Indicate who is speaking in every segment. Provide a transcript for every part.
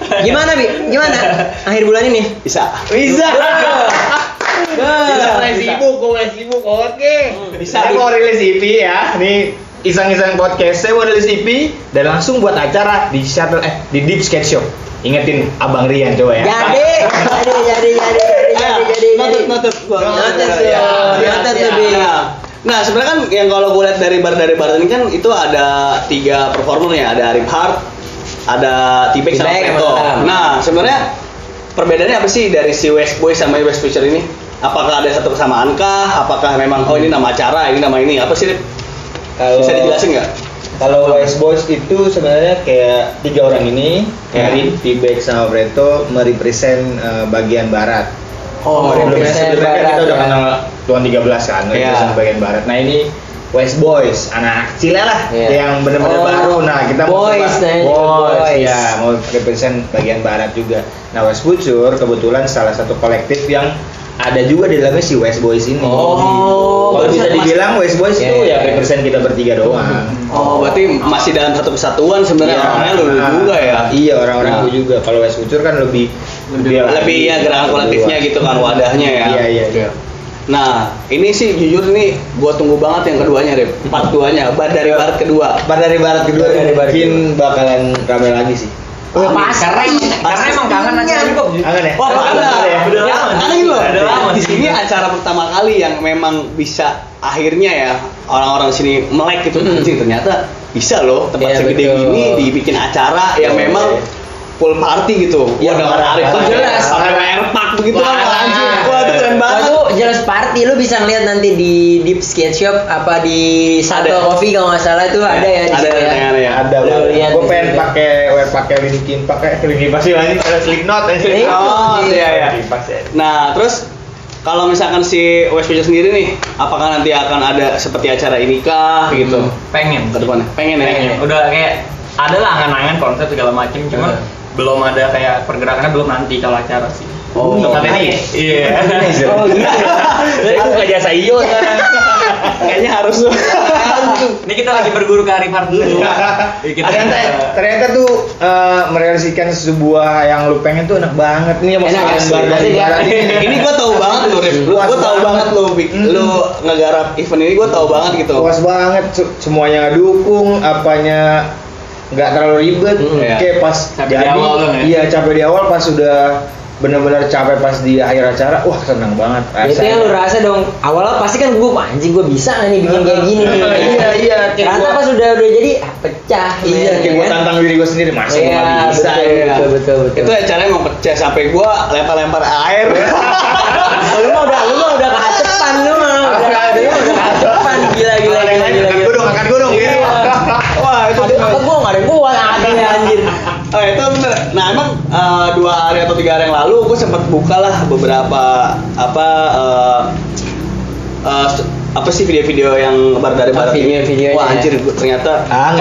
Speaker 1: Gimana bi? Gimana? Akhir bulan ini?
Speaker 2: Bisa.
Speaker 1: Bisa.
Speaker 2: Bisa,
Speaker 3: mulai
Speaker 2: bisa.
Speaker 3: sibuk, gue mulai sibuk, oke.
Speaker 2: Bisa.
Speaker 3: Saya mau rilis EP ya, nih iseng-iseng podcast saya mau rilis EP dan langsung buat acara di shuttle eh di Deep Sketch Show. Ingetin Abang Rian coba ya.
Speaker 1: Jadi, jadi, jadi, jadi, jadi, jadi, jadi.
Speaker 2: Ya, Notut, notut gua.
Speaker 1: Notes
Speaker 2: Ya,
Speaker 3: Iya,
Speaker 1: ya,
Speaker 2: ya,
Speaker 1: notes
Speaker 2: ya.
Speaker 1: ya bi.
Speaker 2: Nah, sebenarnya kan yang kalau gue lihat dari bar dari bar ini kan itu ada tiga performer ya, ada Rip Hart, ada T-Bag sama
Speaker 1: T-Bag sama
Speaker 2: Peto.
Speaker 1: Tom.
Speaker 2: Nah, sebenarnya perbedaannya apa sih dari si West Boy sama West Future ini? Apakah ada satu kesamaan kah? Apakah memang oh ini nama acara, ini nama ini? Apa sih? Rip?
Speaker 3: Kalau-
Speaker 2: Bisa dijelasin nggak?
Speaker 3: Kalau West Boys itu sebenarnya kayak tiga orang ini,
Speaker 2: Ya.
Speaker 3: Erin, T-Bag sama Breto merepresent eh, bagian barat.
Speaker 1: Oh,
Speaker 3: sebelumnya
Speaker 1: represent
Speaker 3: sebelumnya kan kita
Speaker 1: barat,
Speaker 3: udah
Speaker 1: ya.
Speaker 3: kenal Tuan 13 kan, represent
Speaker 2: Iya.
Speaker 3: bagian barat. Nah ini West Boys, anak kecil lah
Speaker 1: Iya.
Speaker 3: yang benar-benar
Speaker 1: Oh,
Speaker 3: baru. Nah kita
Speaker 1: boys,
Speaker 3: mau coba-
Speaker 1: nah, ini
Speaker 3: boys,
Speaker 1: boys.
Speaker 3: ya mau represent bagian barat juga. Nah West Future kebetulan salah satu kolektif yang ada juga di dalamnya si West Boys ini.
Speaker 2: Oh,
Speaker 3: kalau bisa
Speaker 2: berarti-
Speaker 3: dibilang West Boys
Speaker 1: Iya,
Speaker 3: itu
Speaker 1: iya,
Speaker 3: ya
Speaker 1: iya.
Speaker 3: represent kita bertiga doang.
Speaker 2: Oh, berarti masih dalam satu kesatuan sebenarnya
Speaker 3: Iya.
Speaker 2: orangnya lu juga ya.
Speaker 3: Iya orang-orang
Speaker 2: Nah.
Speaker 3: lu juga. Kalau West Future kan lebih dia
Speaker 2: Lebih
Speaker 3: lagi,
Speaker 2: ya gerakan
Speaker 3: lebih
Speaker 2: kolektifnya
Speaker 3: luas.
Speaker 2: gitu kan wadahnya ya.
Speaker 3: Iya iya. iya.
Speaker 2: Nah, ini sih jujur nih gua tunggu banget yang keduanya, Rip. Part duanya, bar dari bar kedua.
Speaker 3: Part dari barat kedua
Speaker 1: Part dari barat
Speaker 3: mungkin bakalan ramai lagi sih.
Speaker 1: Oh,
Speaker 4: Karena karena emang kangen aja kok.
Speaker 3: Kangen ya?
Speaker 2: Wah,
Speaker 3: Udah lama
Speaker 2: parah.
Speaker 3: ya?
Speaker 2: Udah
Speaker 4: Udah
Speaker 2: lama.
Speaker 4: lama.
Speaker 2: Aneh loh.
Speaker 4: Udah lama
Speaker 2: Di
Speaker 4: sih.
Speaker 2: sini acara pertama kali yang memang bisa akhirnya ya orang-orang sini melek gitu.
Speaker 1: Mm.
Speaker 2: Anjing ternyata bisa loh
Speaker 1: Iya,
Speaker 2: tempat segede
Speaker 1: betul.
Speaker 2: gini dibikin acara yang
Speaker 3: Iya,
Speaker 2: memang
Speaker 3: iya.
Speaker 2: full party gitu. Wah,
Speaker 3: Iya,
Speaker 2: dengan
Speaker 3: parah,
Speaker 2: Arif
Speaker 3: parah.
Speaker 2: tuh jelas.
Speaker 1: Jelas.
Speaker 2: Pakai air pak begitu
Speaker 4: Wah,
Speaker 2: kan anjing. Wah, itu keren banget.
Speaker 1: Itu jelas party lu bisa ngeliat nanti di Deep Skate Shop apa di Sato
Speaker 2: Ada.
Speaker 1: Coffee kalau nggak salah itu ada ya di
Speaker 2: ada
Speaker 1: situ
Speaker 2: ada
Speaker 1: ya.
Speaker 2: ada ya.
Speaker 3: Ada.
Speaker 1: Lu lihat
Speaker 3: Gue
Speaker 1: di
Speaker 3: pengen
Speaker 1: situ.
Speaker 3: pakai gue pakai linkin pakai linkin pasti lagi ada slipknot eh.
Speaker 1: Iya.
Speaker 2: Oh, iya iya.
Speaker 3: Linkin Park, ya.
Speaker 2: Nah, terus kalau misalkan si Westbrook sendiri nih, apakah nanti akan ada seperti acara ini kah gitu?
Speaker 4: Pengen.
Speaker 2: Ke depannya. Pengen ya?
Speaker 4: Pengen. Udah kayak ada lah angan-angan konsep segala macem cuman belum ada kayak pergerakannya belum nanti kalau acara sih.
Speaker 2: Oh,
Speaker 4: Untuk saat ini. Iya.
Speaker 3: Oh iya. Aku nggak jasa iyo kan.
Speaker 2: Kayaknya harus tuh.
Speaker 4: Ini kita lagi berguru ke Arif Hart dulu. Iya, kita-
Speaker 3: ternyata, ternyata tuh eh, merealisasikan sebuah yang lu pengen tuh enak ya. banget nih
Speaker 1: Enak,
Speaker 3: maksudnya
Speaker 1: asli.
Speaker 3: bar dari
Speaker 1: Asli,
Speaker 3: barat
Speaker 1: asli.
Speaker 3: ini.
Speaker 2: ini gua tahu banget lu, Rif. Lu, gua tahu banget lu, Bik. lu ngegarap event ini gua tahu banget gitu.
Speaker 3: puas banget se- semuanya dukung apanya nggak terlalu ribet
Speaker 2: Hmm, iya.
Speaker 3: kayak pas
Speaker 4: Capek di awal dong ya?
Speaker 3: iya capek di awal pas sudah benar-benar capek pas di akhir acara wah senang banget
Speaker 1: Itu
Speaker 3: rasanya.
Speaker 1: yang ya lu rasa dong. Awalnya pasti kan gue anjing gue bisa nggak nih bikin kayak gini nih.
Speaker 3: Iya, iya, kayak
Speaker 1: Ternyata
Speaker 3: gua-
Speaker 1: pas udah udah jadi ah, pecah.
Speaker 3: iya
Speaker 1: men,
Speaker 3: kayak gue
Speaker 1: kan?
Speaker 3: tantang diri gue sendiri masa gua
Speaker 1: Iya,
Speaker 3: nggak bisa
Speaker 1: betul,
Speaker 3: ya.
Speaker 1: betul, betul, betul.
Speaker 2: Itu acaranya emang pecah sampai gua lempar-lempar air.
Speaker 1: Oh, lu mah udah lu mah udah kehatepan lu mah. Udah lu mah udah kehatepan gila gila gila gila.
Speaker 3: angkat gue dong angkat gue dong
Speaker 2: Iya. Wah, itu
Speaker 1: Apa gua enggak ada gua
Speaker 3: Ah,
Speaker 1: anjing anjir.
Speaker 2: Oh itu bener. Nah emang eh, dua hari atau tiga hari yang lalu gue sempat buka lah beberapa apa eh, eh, st- apa sih video-video yang bar dari barat ini.
Speaker 1: Ah, Video-videonya
Speaker 2: Wah
Speaker 1: ya.
Speaker 2: anjir gua ternyata.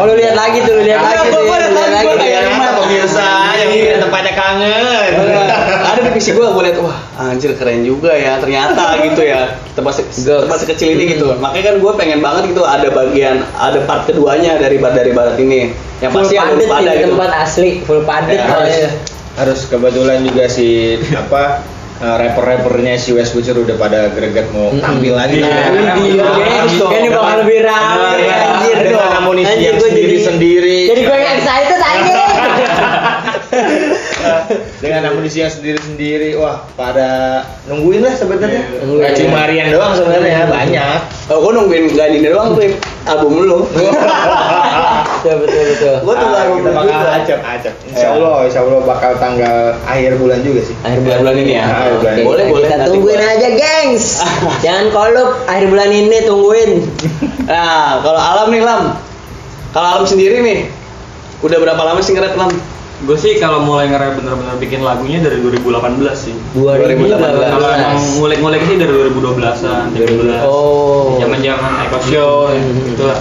Speaker 1: Oh, lu lihat lagi tuh, lu lihat
Speaker 2: Ah,
Speaker 1: lagi
Speaker 2: gua-
Speaker 1: tuh.
Speaker 2: gua
Speaker 1: ya,
Speaker 2: lihat
Speaker 1: lu
Speaker 2: lagi, gua kayak
Speaker 1: tuh. Iya.
Speaker 2: gimana, pemirsa? yang
Speaker 3: yang tempatnya kangen
Speaker 2: Bener. ada di PC gue gue lihat wah anjir keren juga ya ternyata gitu ya tempat se-
Speaker 1: Gokes.
Speaker 2: tempat sekecil ini gitu
Speaker 1: Hmm.
Speaker 2: makanya kan gue pengen banget gitu ada bagian ada part keduanya dari bar dari barat ini yang
Speaker 1: Full
Speaker 2: pasti ada
Speaker 1: padet
Speaker 2: pada
Speaker 1: di
Speaker 2: gitu
Speaker 1: tempat asli, full Iya, padet.
Speaker 3: Iya.
Speaker 2: Ya,
Speaker 1: soalnya.
Speaker 3: harus kebetulan juga si apa eh, rapper-rappernya si West Butcher udah pada greget mau
Speaker 1: Mm-mm.
Speaker 3: tampil lagi
Speaker 1: Nah,
Speaker 3: nih.
Speaker 4: Iya.
Speaker 1: ini dia,
Speaker 2: Harus dong.
Speaker 1: ini bakal lebih ramai
Speaker 3: Dengan-
Speaker 1: anjir
Speaker 3: dengan
Speaker 1: dong.
Speaker 3: amunisi
Speaker 1: Anjir,
Speaker 3: yang
Speaker 1: gua jadi-
Speaker 3: sendiri-sendiri.
Speaker 1: Jadi gue excited anjir.
Speaker 3: dengan amunisi yang sendiri-sendiri wah pada nungguin lah sebenarnya
Speaker 4: Iya,
Speaker 1: nungguin.
Speaker 3: nggak cuma Rian doang sebenarnya banyak
Speaker 2: Oh, gue nungguin gak ini doang tuh album lu.
Speaker 1: Betul betul betul.
Speaker 2: Gua tunggu
Speaker 3: Ah,
Speaker 2: album
Speaker 3: kita
Speaker 2: lu
Speaker 3: bakal
Speaker 2: juga.
Speaker 3: acap acap insya Allah insya Allah bakal tanggal akhir bulan juga sih
Speaker 1: Akhir
Speaker 2: Bulan bulan ini ya.
Speaker 3: Akhir bulan
Speaker 1: Oke,
Speaker 3: ini.
Speaker 2: Boleh
Speaker 1: kita-
Speaker 2: boleh.
Speaker 1: Kita
Speaker 2: nanti
Speaker 1: tungguin
Speaker 2: gua-
Speaker 1: aja, gengs. Jangan kolup akhir bulan ini tungguin.
Speaker 2: Nah, kalau Alam nih Lam, kalau Alam sendiri nih, udah berapa lama sih ngerap Lam?
Speaker 4: Gue sih kalau mulai ngerap bener-bener bikin lagunya dari 2018 sih.
Speaker 2: 2018.
Speaker 1: 2018.
Speaker 4: Kalau emang ngulik-ngulik sih dari 2012-an, 2012.
Speaker 1: Oh.
Speaker 4: Zaman-zaman Eko Show
Speaker 1: Hmm.
Speaker 4: gitu lah.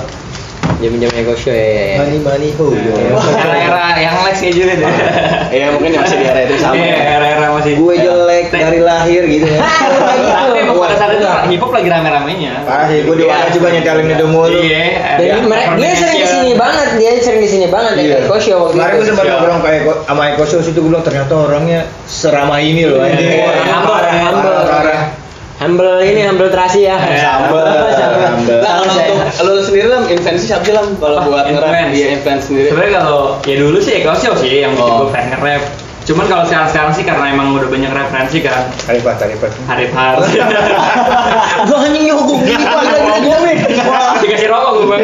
Speaker 1: Jamin-jamin Eko Show ya. ya, ya.
Speaker 3: money money ho yo.
Speaker 4: Era-era yang Lex kayak gini deh.
Speaker 2: Ya mungkin yang masih di area itu sama.
Speaker 4: Iya, era-era masih
Speaker 3: gue jelek dari lahir gitu ya
Speaker 1: Ah, lu kayak gitu.
Speaker 4: Nah, Tapi emang pada saat itu hip hop lagi rame-ramenya.
Speaker 3: parah sih gue di warna juga nyetelin itu mulu
Speaker 4: Iya.
Speaker 1: Jadi mereka dia sering kesini banget, dia sering kesini aslinya banget ya
Speaker 2: Iya.
Speaker 1: kayak Kosio waktu
Speaker 3: Kemarin gue
Speaker 1: itu.
Speaker 3: sempat ngobrol kayak Eko, sama Eko Show situ gue bilang ternyata orangnya seramah ini loh.
Speaker 1: Iya,
Speaker 3: anjing.
Speaker 1: orang humble,
Speaker 3: Parah,
Speaker 1: orang humble.
Speaker 3: parah, parah.
Speaker 1: Humble ini humble terasi ya.
Speaker 4: Iya.
Speaker 2: humble,
Speaker 1: Humble.
Speaker 3: humble.
Speaker 2: Lah, Nah, kalau
Speaker 1: Saya-
Speaker 2: untuk lu sendiri lah, influence siapa sih lah kalau
Speaker 4: Apa?
Speaker 2: buat nge-rap?
Speaker 4: Influence.
Speaker 2: Iya, influence sendiri.
Speaker 4: sebenarnya kalau ya dulu sih Eko Show sih yang bikin
Speaker 2: Oh.
Speaker 4: gue pengen nge-rap cuman kalau sekarang sekarang sih karena emang udah banyak referensi kan
Speaker 3: Tarifah, tarifah.
Speaker 4: Harif Harif
Speaker 1: Gua anjing nyogok gini gua lagi jamin.
Speaker 4: dikasih rokok gue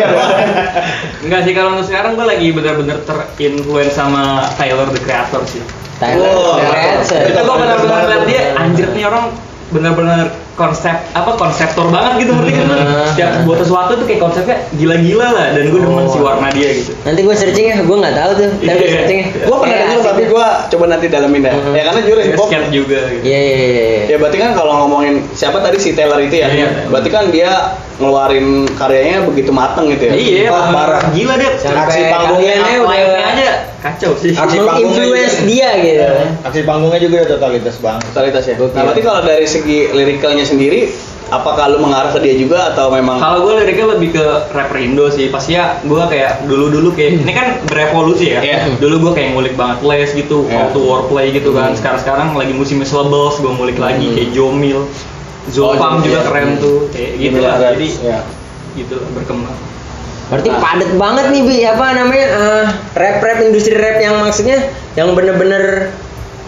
Speaker 4: enggak sih kalau untuk sekarang gue lagi bener-bener terinfluence sama Tyler the Creator sih
Speaker 1: Tyler,
Speaker 2: Wow.
Speaker 1: Tyler,
Speaker 4: itu gue
Speaker 2: Tyler
Speaker 4: bener-bener
Speaker 2: banget
Speaker 4: liat
Speaker 2: tuh.
Speaker 4: dia anjir nih orang bener-bener konsep apa konseptor banget gitu ngerti kan lu?
Speaker 1: Hmm.
Speaker 4: setiap buat sesuatu tuh kayak konsepnya gila-gila lah dan gue
Speaker 1: Oh.
Speaker 4: demen si warna dia gitu
Speaker 1: Nanti gue searching ya, gue nggak tahu tuh. Tapi gue
Speaker 4: Iya.
Speaker 1: searching ya.
Speaker 2: Gua pernah
Speaker 1: Kayak
Speaker 2: denger
Speaker 1: asik
Speaker 2: tapi
Speaker 1: deh.
Speaker 2: gua coba nanti dalemin ya.
Speaker 1: Mhm.
Speaker 2: Ya karena jujur hip hop.
Speaker 4: scared juga gitu
Speaker 1: Iya iya iya, iya.
Speaker 2: Ya berarti kan kalau ngomongin siapa tadi si Taylor itu ya,
Speaker 4: Iya.
Speaker 2: berarti kan dia ngeluarin karyanya begitu mateng gitu ya.
Speaker 4: Iya,
Speaker 2: Wah, parah.
Speaker 4: parah. Gila dia.
Speaker 1: Sampai
Speaker 2: aksi panggungnya,
Speaker 1: kaliannya udah
Speaker 4: Lainnya aja kacau sih.
Speaker 3: Aksi
Speaker 1: menginfluence
Speaker 3: panggungnya.
Speaker 1: dia gitu.
Speaker 2: Iya.
Speaker 3: Aksi panggungnya juga udah totalitas banget.
Speaker 2: Totalitas ya.
Speaker 1: Gokil.
Speaker 2: Nah, berarti kalau dari segi lirikalnya sendiri, apakah lu mengarah ke dia juga atau memang
Speaker 4: Kalau gue liriknya lebih ke rapper Indo sih. Pastinya gue kayak dulu-dulu kayak
Speaker 2: Hmm.
Speaker 4: ini kan berevolusi ya.
Speaker 3: Iya.
Speaker 4: Dulu gue kayak ngulik banget Les gitu,
Speaker 3: Iya.
Speaker 4: All to Warplay gitu
Speaker 2: Hmm.
Speaker 4: kan. Sekarang-sekarang lagi musimnya Slebels, gue ngulik lagi kayak Jomil.
Speaker 2: Oh,
Speaker 4: Zopang
Speaker 2: Jomil,
Speaker 4: juga
Speaker 2: iya.
Speaker 4: keren tuh. Kayak gitu
Speaker 2: Gimana
Speaker 4: lah.
Speaker 2: rap?
Speaker 4: Jadi
Speaker 2: ya.
Speaker 4: gitu lah, berkembang.
Speaker 1: Berarti padat banget nih bi apa namanya eh, rap rap industri rap yang maksudnya yang bener-bener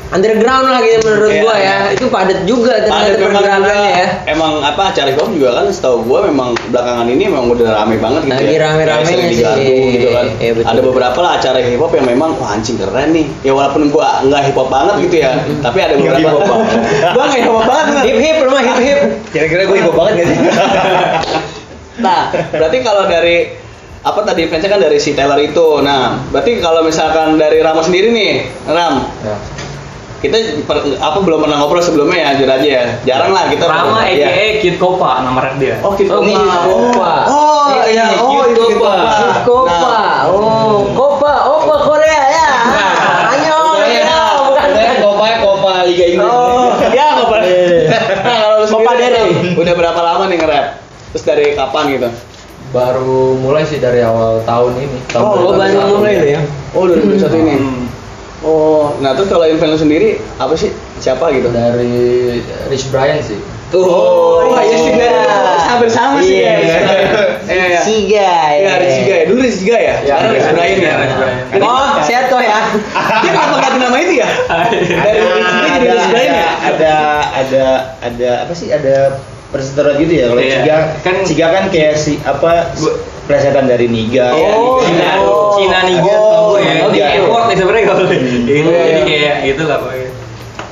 Speaker 1: underground lah gitu menurut
Speaker 2: Iya,
Speaker 1: gua ya.
Speaker 2: iya.
Speaker 1: Itu padat juga
Speaker 2: Ada
Speaker 1: ternyata
Speaker 2: memang
Speaker 1: pergerakannya
Speaker 2: juga-
Speaker 1: ya.
Speaker 2: Emang apa acara hip hop juga kan setahu gua memang belakangan ini memang udah rame banget gitu
Speaker 1: Lagi
Speaker 2: ya.
Speaker 1: rame-ramenya
Speaker 2: Kayak sering
Speaker 1: sih.
Speaker 2: diganggu gitu kan.
Speaker 1: Iya, betul.
Speaker 2: ada beberapa lah acara hip hop yang memang wah anjing keren nih. Ya walaupun gua nggak hip hop banget gitu ya, tapi ada beberapa.
Speaker 3: hip hop banget.
Speaker 2: gua nggak hip hop banget. bener.
Speaker 1: Hip hip rumah hip hip.
Speaker 3: Kira-kira gue heboh banget gak sih?
Speaker 2: Nah, berarti kalau dari apa tadi fansnya kan dari si Taylor itu. Nah, berarti kalau misalkan dari Ramo sendiri nih, Ram,
Speaker 5: Ya.
Speaker 2: kita per- apa belum pernah ngobrol sebelumnya ya, jujur aja ya. Jarang lah kita.
Speaker 4: Rama
Speaker 2: Iya.
Speaker 4: aka Kid Kopa nama rap dia.
Speaker 2: Oh, Kid
Speaker 1: Oh,
Speaker 2: Kopa.
Speaker 1: Kid Kopa.
Speaker 2: Oh,
Speaker 1: Iya,
Speaker 2: iya,
Speaker 1: Kid
Speaker 2: oh, itu
Speaker 1: Kopa. Kid Kopa.
Speaker 2: Nah.
Speaker 1: Oh, Kopa, Opa Korea ya.
Speaker 2: Nah.
Speaker 1: Ayo,
Speaker 3: ya,
Speaker 1: ayo. Bukan.
Speaker 3: Kopa, Kopa ya, Liga Inggris.
Speaker 1: Oh, ya Kopa.
Speaker 2: Nah, iya, kalau lu
Speaker 1: Kopa
Speaker 2: sendiri,
Speaker 1: Dere.
Speaker 2: Ram, udah berapa lama nih nge-rap? Terus dari kapan gitu?
Speaker 5: baru mulai sih dari awal tahun ini tahun
Speaker 1: Oh,
Speaker 2: Oh,
Speaker 1: baru
Speaker 5: 2021.
Speaker 1: mulai lo ya.
Speaker 2: Oh, 2021 ini.
Speaker 4: Hmm.
Speaker 2: Oh, nah terus kalau influencer sendiri apa sih? Siapa gitu?
Speaker 5: dari Rich Brian sih
Speaker 2: Tuh. Oh, iya sih
Speaker 1: iya.
Speaker 2: guys. Hampir sama sih
Speaker 1: Iya,
Speaker 2: guys.
Speaker 1: iya.
Speaker 2: Iya, iya.
Speaker 1: Siga.
Speaker 2: Iya,
Speaker 1: ya.
Speaker 2: ada Siga ya. Dulu Rizky ya? Sekarang
Speaker 4: iya,
Speaker 2: Rizky Brian ya.
Speaker 4: iya, Rizky Brian.
Speaker 2: Kenapa-
Speaker 1: Oh, sehat kok ya.
Speaker 2: Dia kenapa ganti nama itu ya? Dari Rizky
Speaker 3: ada,
Speaker 2: jadi Rizky
Speaker 3: Nah, ada,
Speaker 2: Brian ya?
Speaker 3: ada, ada, ada, apa sih? Ada perseteruan gitu ya kalau
Speaker 4: Iya.
Speaker 3: Ciga kan
Speaker 4: Kan-
Speaker 3: Ciga kan kayak si apa
Speaker 4: Gua-
Speaker 3: plesetan dari ya, Niga
Speaker 1: Oh,
Speaker 4: Cina,
Speaker 1: oh.
Speaker 4: Cina Niga
Speaker 3: Oh,
Speaker 4: ya.
Speaker 3: oh,
Speaker 4: Dia
Speaker 3: gitu.
Speaker 4: effort nih sebenarnya kalau gitu.
Speaker 2: Iya.
Speaker 4: Jadi kayak gitu lah pokoknya.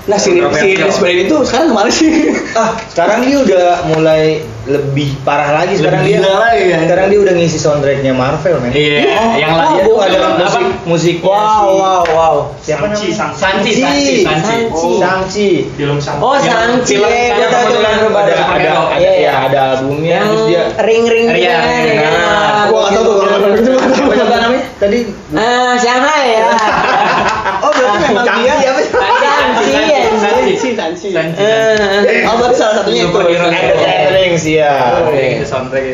Speaker 2: Nah, si si Rizky Brian itu sekarang kemana sih?
Speaker 3: ah sekarang dia udah mulai lebih parah lagi sekarang dia
Speaker 4: Lebih gila lagi ya.
Speaker 3: sekarang dia udah ngisi soundtracknya Marvel men
Speaker 4: Iya,
Speaker 2: Oh,
Speaker 4: yang
Speaker 2: oh,
Speaker 4: lain
Speaker 3: Dia tuh ada musik musiknya
Speaker 1: Wow,
Speaker 3: si-
Speaker 1: wow, wow.
Speaker 3: siapa
Speaker 6: Sanchi,
Speaker 3: namanya
Speaker 6: Sanchi.
Speaker 4: Sanji,
Speaker 3: Sanji,
Speaker 4: Sanji, Sanji.
Speaker 3: Oh, Sanchi
Speaker 6: Film Sang.
Speaker 1: Oh, Sanci.
Speaker 4: Film-
Speaker 1: Iya, tahu
Speaker 4: film- film-
Speaker 1: tahu,
Speaker 4: film-
Speaker 1: tahu,
Speaker 3: ada
Speaker 1: tahu.
Speaker 4: Superhero.
Speaker 3: ada ada
Speaker 1: Iya,
Speaker 3: ya
Speaker 1: iya.
Speaker 3: ada albumnya
Speaker 1: Yang
Speaker 3: terus dia Nah,
Speaker 1: ring-ring
Speaker 4: Iya,
Speaker 1: gitu kan,
Speaker 4: iya.
Speaker 1: ya.
Speaker 2: Gua nggak tahu tuh kalau itu.
Speaker 3: apa siapa namanya tadi
Speaker 1: Ah, Shanghai ya.
Speaker 2: Oh, berarti memang
Speaker 3: Canggih
Speaker 2: dia.
Speaker 3: apa sih?
Speaker 1: Sanci ya.
Speaker 2: Sanci, Sanci.
Speaker 1: Eh,
Speaker 2: Oh, berarti salah satunya itu.
Speaker 4: Superhero.
Speaker 3: Ada Gatherings ya
Speaker 4: Itu soundtrack.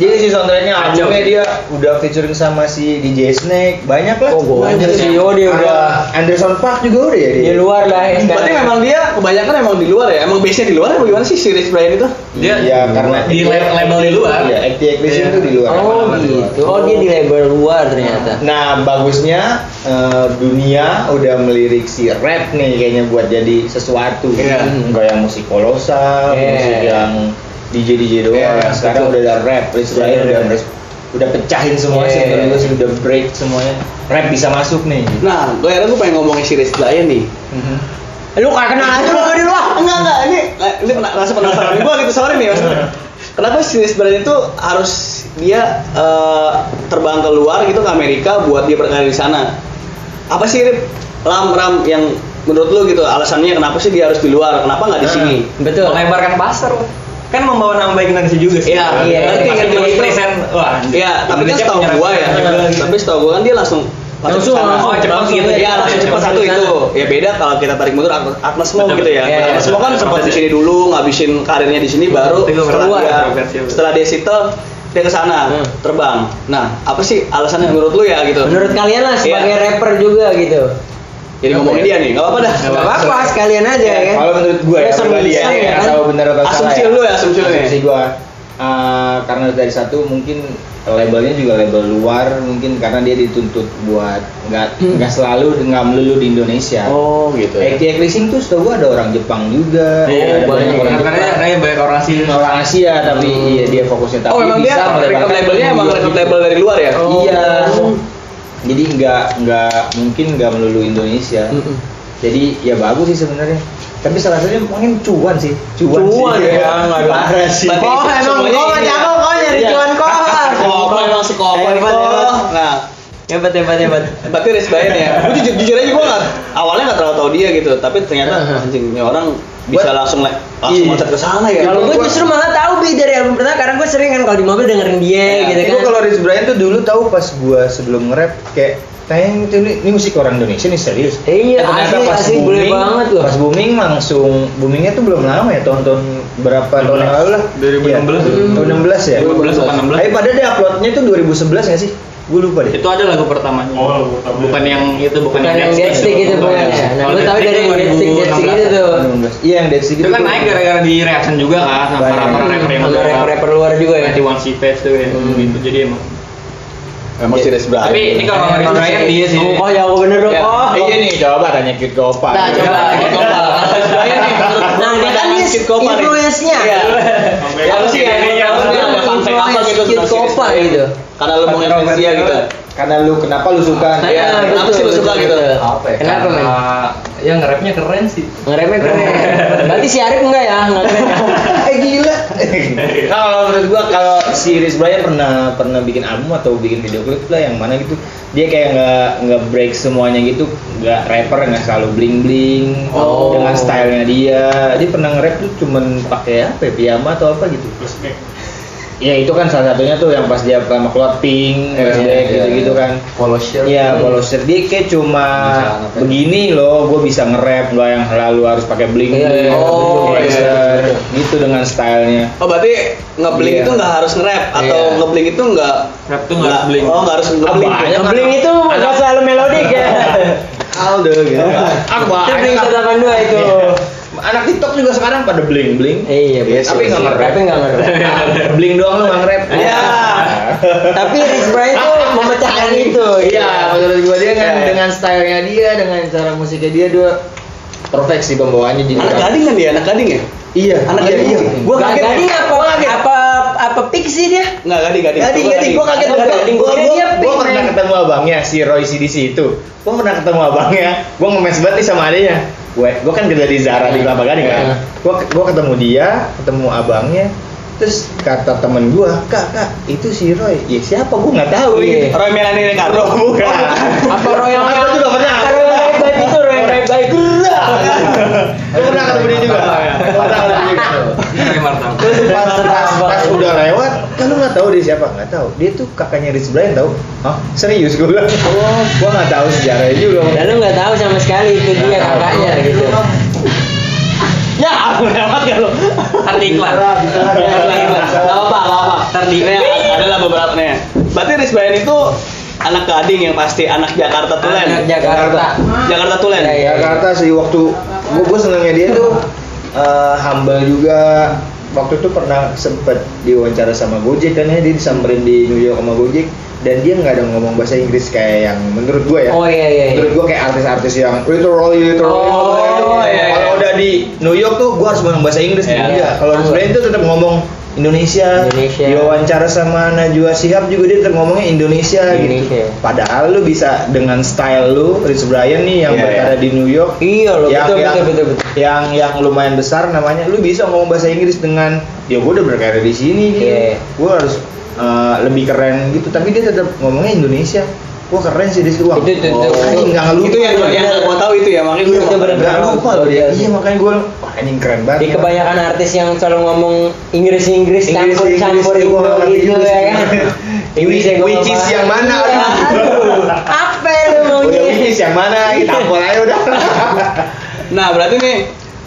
Speaker 3: jadi si soundtracknya
Speaker 4: Oh. Kacau.
Speaker 3: albumnya dia udah featuring sama si DJ Snake banyak lah
Speaker 1: Oh, gua anjir sih. Oh, dia
Speaker 3: Ada
Speaker 1: udah
Speaker 3: Anderson Park juga udah ya
Speaker 1: di luar lah ya.
Speaker 2: Berarti memang dia kebanyakan emang di luar ya? Emang base-nya di luar apa gimana sih si Rizky Brian itu?
Speaker 4: Dia
Speaker 3: iya karena
Speaker 4: di lab- label di luar.
Speaker 3: Iya, activation
Speaker 4: Iya.
Speaker 3: itu di luar.
Speaker 1: Oh,
Speaker 3: Di luar.
Speaker 1: gitu. Oh, dia di label luar ternyata.
Speaker 3: Nah, bagusnya eh, dunia udah melirik si rap nih kayaknya buat jadi sesuatu.
Speaker 2: Iya.
Speaker 3: Enggak yang musik kolosal,
Speaker 1: Iya.
Speaker 3: musik yang DJ DJ doang.
Speaker 2: Iya,
Speaker 3: Sekarang
Speaker 2: betul.
Speaker 3: udah ada rap, istilahnya udah res- udah pecahin
Speaker 1: Iya.
Speaker 3: semuanya sih menurut gue sih, udah break semuanya. Rap bisa masuk nih.
Speaker 2: Nah, gue akhirnya gue pengen ngomongin si Rizky Brian nih.
Speaker 1: Lu kagak kenal aja lu di luar.
Speaker 2: enggak enggak ini ini pena- rasa penasaran gue gitu sorry nih maksudnya kenapa sih sebenarnya itu harus dia eh, terbang keluar gitu ke Amerika buat dia berkarya di sana apa sih Rip? lam ram yang menurut lu gitu alasannya kenapa sih dia harus di luar kenapa nggak di
Speaker 1: Iya.
Speaker 2: sini
Speaker 1: Betul.
Speaker 4: Melebarkan pasar. Kan membawa nama baik Indonesia juga sih.
Speaker 2: Iya,
Speaker 1: iya,
Speaker 4: Pasti
Speaker 1: iya.
Speaker 4: kan
Speaker 2: Itu-
Speaker 4: present. Wah,
Speaker 2: Iya, tapi kan
Speaker 4: Indonesia
Speaker 2: setahu
Speaker 4: punya
Speaker 2: gua ya.
Speaker 4: referensi juga. gitu.
Speaker 2: Tapi setahu gua kan dia langsung
Speaker 1: Langsung,
Speaker 2: kesana.
Speaker 1: langsung.
Speaker 2: oh cepat
Speaker 1: Langsung,
Speaker 2: gitu
Speaker 1: iya,
Speaker 2: ya langsung
Speaker 1: langsung
Speaker 2: cepat
Speaker 1: ke
Speaker 2: satu
Speaker 1: sana.
Speaker 2: itu ya beda kalau kita tarik mundur Atlas Atlas Mo
Speaker 4: Betul,
Speaker 2: gitu ya
Speaker 1: iya, iya,
Speaker 2: Atlas Mo kan
Speaker 4: betul.
Speaker 2: sempat di sini dulu ngabisin karirnya di sini baru
Speaker 4: Itu
Speaker 2: setelah
Speaker 4: keluar.
Speaker 2: dia
Speaker 4: Progresif.
Speaker 2: setelah dia settle dia ke sana
Speaker 1: Hmm.
Speaker 2: terbang nah apa sih alasannya menurut lu ya gitu
Speaker 1: Menurut kalian lah sebagai
Speaker 2: Iya.
Speaker 1: rapper juga gitu.
Speaker 2: jadi ngomongin dia nih nggak apa-apa dah
Speaker 1: Gak apa-apa sekalian aja
Speaker 3: Ya,
Speaker 1: ya kan.
Speaker 3: Kalau menurut gue ya,
Speaker 1: Kita
Speaker 3: pribadi ya,
Speaker 1: semisal,
Speaker 3: ya
Speaker 1: ya
Speaker 3: nggak
Speaker 1: kan?
Speaker 3: tahu benar atau salah.
Speaker 2: asumsi
Speaker 3: ya.
Speaker 2: lu ya asumsi lu
Speaker 3: Asumsi
Speaker 2: nih
Speaker 3: gue eh, karena dari satu mungkin labelnya juga label luar mungkin karena dia dituntut buat nggak nggak selalu nggak melulu di Indonesia.
Speaker 2: Hmm. oh gitu ya.
Speaker 3: Kayak Racing tuh setahu gue ada orang Jepang juga,
Speaker 4: Iya,
Speaker 3: ada
Speaker 4: banyak
Speaker 3: banyak orang
Speaker 4: karena
Speaker 3: Jepang.
Speaker 4: karena banyak orang asing.
Speaker 3: orang Asia tapi iya dia fokusnya tapi
Speaker 2: gitu. oh memang dia record labelnya emang record label dari luar ya
Speaker 3: iya jadi nggak nggak mungkin nggak melulu Indonesia
Speaker 1: Mm-mm.
Speaker 3: jadi ya bagus sih sebenarnya tapi salah satunya mungkin cuan sih cuan,
Speaker 1: Cuan
Speaker 3: sih
Speaker 1: ya, nggak ada.
Speaker 3: parah sih
Speaker 2: Berarti
Speaker 1: Oh,
Speaker 2: semuanya
Speaker 1: emang kau
Speaker 2: ini ya.
Speaker 1: cakep kau nyari
Speaker 3: Iya.
Speaker 1: cuan kau.
Speaker 2: Sekolah emang sekolah
Speaker 1: Hebat,
Speaker 2: Niko.
Speaker 1: hebat.
Speaker 2: Nah,
Speaker 1: Hebat hebat hebat.
Speaker 2: berarti respect ya. Gue jujur, jujur aja gue nggak awalnya nggak terlalu tahu dia gitu, tapi ternyata anjing ini orang bisa
Speaker 3: Buat-
Speaker 2: langsung le- langsung
Speaker 3: Iya.
Speaker 2: loncat ke sana ya.
Speaker 1: Kalau gue
Speaker 3: gua-
Speaker 1: justru malah tahu bi dari album pertama karena gue sering kan kalau di mobil dengerin dia
Speaker 2: Iya,
Speaker 1: gitu kan.
Speaker 3: Gue kalau Rich Brian tuh dulu tahu pas gua sebelum nge-rap kayak tayang itu ini, ini musik orang Indonesia nih serius. Eh,
Speaker 1: Iya, asli, asli, boleh banget loh.
Speaker 3: Pas booming langsung boomingnya tuh belum lama ya tahun-tahun berapa tahun yang lalu lah.
Speaker 4: 2016.
Speaker 3: Ya, tahun 16 ya.
Speaker 4: 2016 apa 16?
Speaker 3: Eh padahal dia uploadnya tuh 2011 nggak sih? Gue lupa deh.
Speaker 4: Itu ada lagu pertamanya.
Speaker 6: Oh, pertama.
Speaker 4: bukan yang gitu. kan. itu bukan
Speaker 1: Bukan yang Deadstick itu bukan ya. Nah, gue tahu dari yang Deadstick Deadstick itu tuh.
Speaker 3: 2016. Iya yang dari segitu.
Speaker 4: Itu kan naik gara-gara di reaction juga kan sama
Speaker 3: Banyak.
Speaker 4: rapper rapper yang
Speaker 1: Sama rapper-rapper luar juga ya.
Speaker 4: Nanti one Savage tuh ya.
Speaker 2: Hmm.
Speaker 4: Gitu jadi emang.
Speaker 2: Emang si Res Brian.
Speaker 4: Tapi ini kalau Rich Brian dia sih.
Speaker 1: Oh, ya gue bener dong.
Speaker 3: Ya,
Speaker 1: Oh.
Speaker 3: iya nih coba tanya Kid Iya. Gopa.
Speaker 2: Nah, coba lagi coba. Brian nih menurut
Speaker 1: Nah, dia kan
Speaker 2: pandangan
Speaker 1: nih
Speaker 2: Kid Kopa nih.
Speaker 1: influence-nya.
Speaker 2: Iya.
Speaker 6: Sampai-
Speaker 2: Ya, apa sih ya?
Speaker 6: Iya,
Speaker 2: Apa sih
Speaker 1: iya.
Speaker 2: ada fun fact apa gitu
Speaker 1: Kid
Speaker 2: tentang si Res
Speaker 1: Kopa
Speaker 2: Brian?
Speaker 1: gitu.
Speaker 2: Karena
Speaker 3: Iya,
Speaker 2: lu mau influence dia gitu.
Speaker 3: Karena lu kenapa lu suka?
Speaker 2: Iya,
Speaker 1: Nah,
Speaker 2: kenapa
Speaker 1: betul,
Speaker 2: sih lu suka
Speaker 1: betul,
Speaker 2: gitu?
Speaker 1: betul.
Speaker 5: Apa ya?
Speaker 1: Kenapa,
Speaker 5: Karena
Speaker 1: men?
Speaker 5: ya nge-rapnya keren sih.
Speaker 1: Ngeremnya keren. Berarti si Arif enggak ya? Enggak keren. ya?
Speaker 3: eh gila kalau menurut gua kalau si Rich Brian pernah pernah bikin album atau bikin video klip lah yang mana gitu dia kayak nggak nggak break semuanya gitu nggak rapper nggak selalu bling bling
Speaker 1: Oh.
Speaker 3: dengan stylenya dia dia pernah nge-rap tuh cuman pakai apa ya, piyama atau apa gitu
Speaker 6: Flashback.
Speaker 3: ya itu kan salah satunya tuh yang pas dia pertama keluar pink
Speaker 1: Iya,
Speaker 3: flashback gitu gitu kan
Speaker 5: Follow share.
Speaker 3: Iya, kalau shirt dia kayak cuma
Speaker 5: Misalnya apa ya?
Speaker 3: begini loh, gue bisa nge-rap nggak yang selalu harus pakai bling
Speaker 1: Iya, iya.
Speaker 3: bling,
Speaker 2: Oh, iya,
Speaker 1: iya.
Speaker 3: gitu dengan stylenya.
Speaker 2: Oh berarti ngebling
Speaker 3: Iya.
Speaker 2: itu nggak harus nge-rap atau
Speaker 5: Iya.
Speaker 2: ngebling itu nggak
Speaker 4: Rap tuh nggak harus bling.
Speaker 2: Oh nggak harus ngebling.
Speaker 3: Banyak Iya.
Speaker 1: Bling itu enggak selalu melodik ya.
Speaker 3: Aldo gitu. Apa?
Speaker 1: Itu Bling 182
Speaker 3: Gitu.
Speaker 1: itu.
Speaker 3: Iya. Anak TikTok juga sekarang pada bling bling.
Speaker 1: Iya, betul.
Speaker 3: tapi nggak nge-rap.
Speaker 1: Tapi nggak ngerem.
Speaker 3: Bling doang lu nggak nge-rap.
Speaker 2: Iya.
Speaker 1: Tapi Rich Brian itu memecahkan itu.
Speaker 3: Iya, menurut gue dia kan dengan stylenya dia, dengan cara musiknya dia, dia perfect sih pembawaannya jadi.
Speaker 2: Anak gading kan dia, anak gading ya?
Speaker 3: Iya,
Speaker 2: Anak
Speaker 3: iya,
Speaker 2: gading.
Speaker 3: iya.
Speaker 2: Gua
Speaker 1: Gak
Speaker 2: kaget.
Speaker 1: gading apa apa apa pixie dia?
Speaker 2: Enggak gading, gading.
Speaker 3: Gading, gading, gua kaget
Speaker 2: Gua
Speaker 3: gua,
Speaker 2: gading.
Speaker 3: gua,
Speaker 1: Dia-
Speaker 3: gua,
Speaker 1: dia
Speaker 3: gua
Speaker 1: pink,
Speaker 3: pernah
Speaker 1: men.
Speaker 3: ketemu abangnya si Roy CDC itu gua pernah ketemu abangnya gua ngemes banget nih sama adanya gue gua kan kerja di Zara di Kelapa Gading kan
Speaker 1: Iya.
Speaker 3: gua gua ketemu dia ketemu abangnya terus kata temen gua kak kak itu si Roy ya siapa gua nggak tahu
Speaker 1: Iya.
Speaker 3: gitu
Speaker 2: Roy Melani Ricardo bukan.
Speaker 1: Apa Royal
Speaker 3: Apa juga pernah.
Speaker 1: Royal Baik Baik itu Royal Baik Baik.
Speaker 3: gua pernah ketemu dia juga Gua pernah ketemu dia juga
Speaker 4: Kayak Martam.
Speaker 3: Terus pas, pas, pas udah lewat, kan lu nggak tahu dia siapa? Nggak tahu. Dia tuh kakaknya Rich Brian tahu? Hah? Serius gue bilang. Oh, gue nggak tahu sejarahnya juga.
Speaker 1: Dan Ya, lu nggak tahu sama sekali itu dia kakaknya gitu.
Speaker 2: Ya, aku lewat ya lo.
Speaker 4: Tadi iklan.
Speaker 2: Enggak apa-apa, enggak apa. Terdiri adalah beberapa nih. Berarti Riz Brian itu anak gading yang pasti anak Jakarta Tulen.
Speaker 1: Anak Jakarta.
Speaker 2: Jakarta Tulen.
Speaker 1: Iya, iya.
Speaker 3: Jakarta sih waktu gue gue senangnya dia tuh eh, humble juga. Waktu itu pernah sempet diwawancara sama Gojek kan ya dia disamperin di New York sama Gojek dan dia nggak ada ngomong bahasa Inggris kayak yang menurut gue ya.
Speaker 1: Oh iya iya. iya.
Speaker 3: Menurut gue kayak artis-artis yang literal literal.
Speaker 1: Oh, iya, iya.
Speaker 3: Kalau udah di New York tuh gue harus ngomong bahasa Inggris.
Speaker 2: Iya.
Speaker 3: Iya. Kalau di Brian tuh tetap ngomong Indonesia.
Speaker 1: Indonesia.
Speaker 3: Diwawancara sama Najwa Shihab juga dia tetap ngomongnya Indonesia,
Speaker 1: Indonesia.
Speaker 3: gitu. Padahal lu bisa dengan style lu, Rich Brian nih yang
Speaker 2: Iya,
Speaker 3: berada di New York. gitu,
Speaker 1: Iya loh,
Speaker 3: yang,
Speaker 1: betul
Speaker 3: yang,
Speaker 1: betul betul betul.
Speaker 3: Ya, yang yang lumayan besar namanya lu bisa ngomong bahasa Inggris dengan ya gue udah berkarir di sini gitu
Speaker 1: Iya.
Speaker 3: gue harus eh, lebih keren gitu tapi dia tetap ngomongnya Indonesia gue keren sih di situ Wah, oh,
Speaker 1: Itu- itu- itu-
Speaker 3: anjing, nggak ngelupa
Speaker 2: Itu yang yang gua tahu itu ya, makanya
Speaker 3: Iya,
Speaker 2: gua
Speaker 3: nggak lupa loh dia
Speaker 1: Iya.
Speaker 3: iya makanya gue wah anjing keren banget
Speaker 1: Di kebanyakan artis yang selalu ngomong Inggris Inggris campur campur
Speaker 3: Inggris,
Speaker 1: Indo
Speaker 3: gua ngerti
Speaker 1: gitu
Speaker 3: Inggris.
Speaker 1: ya kan. Ini
Speaker 3: Which-
Speaker 1: saya nggak
Speaker 3: which is
Speaker 1: paham.
Speaker 3: yang mana?
Speaker 1: Iya, aduh. Apa lu?
Speaker 3: yang mana? Tampol aja udah.
Speaker 2: Nah, berarti nih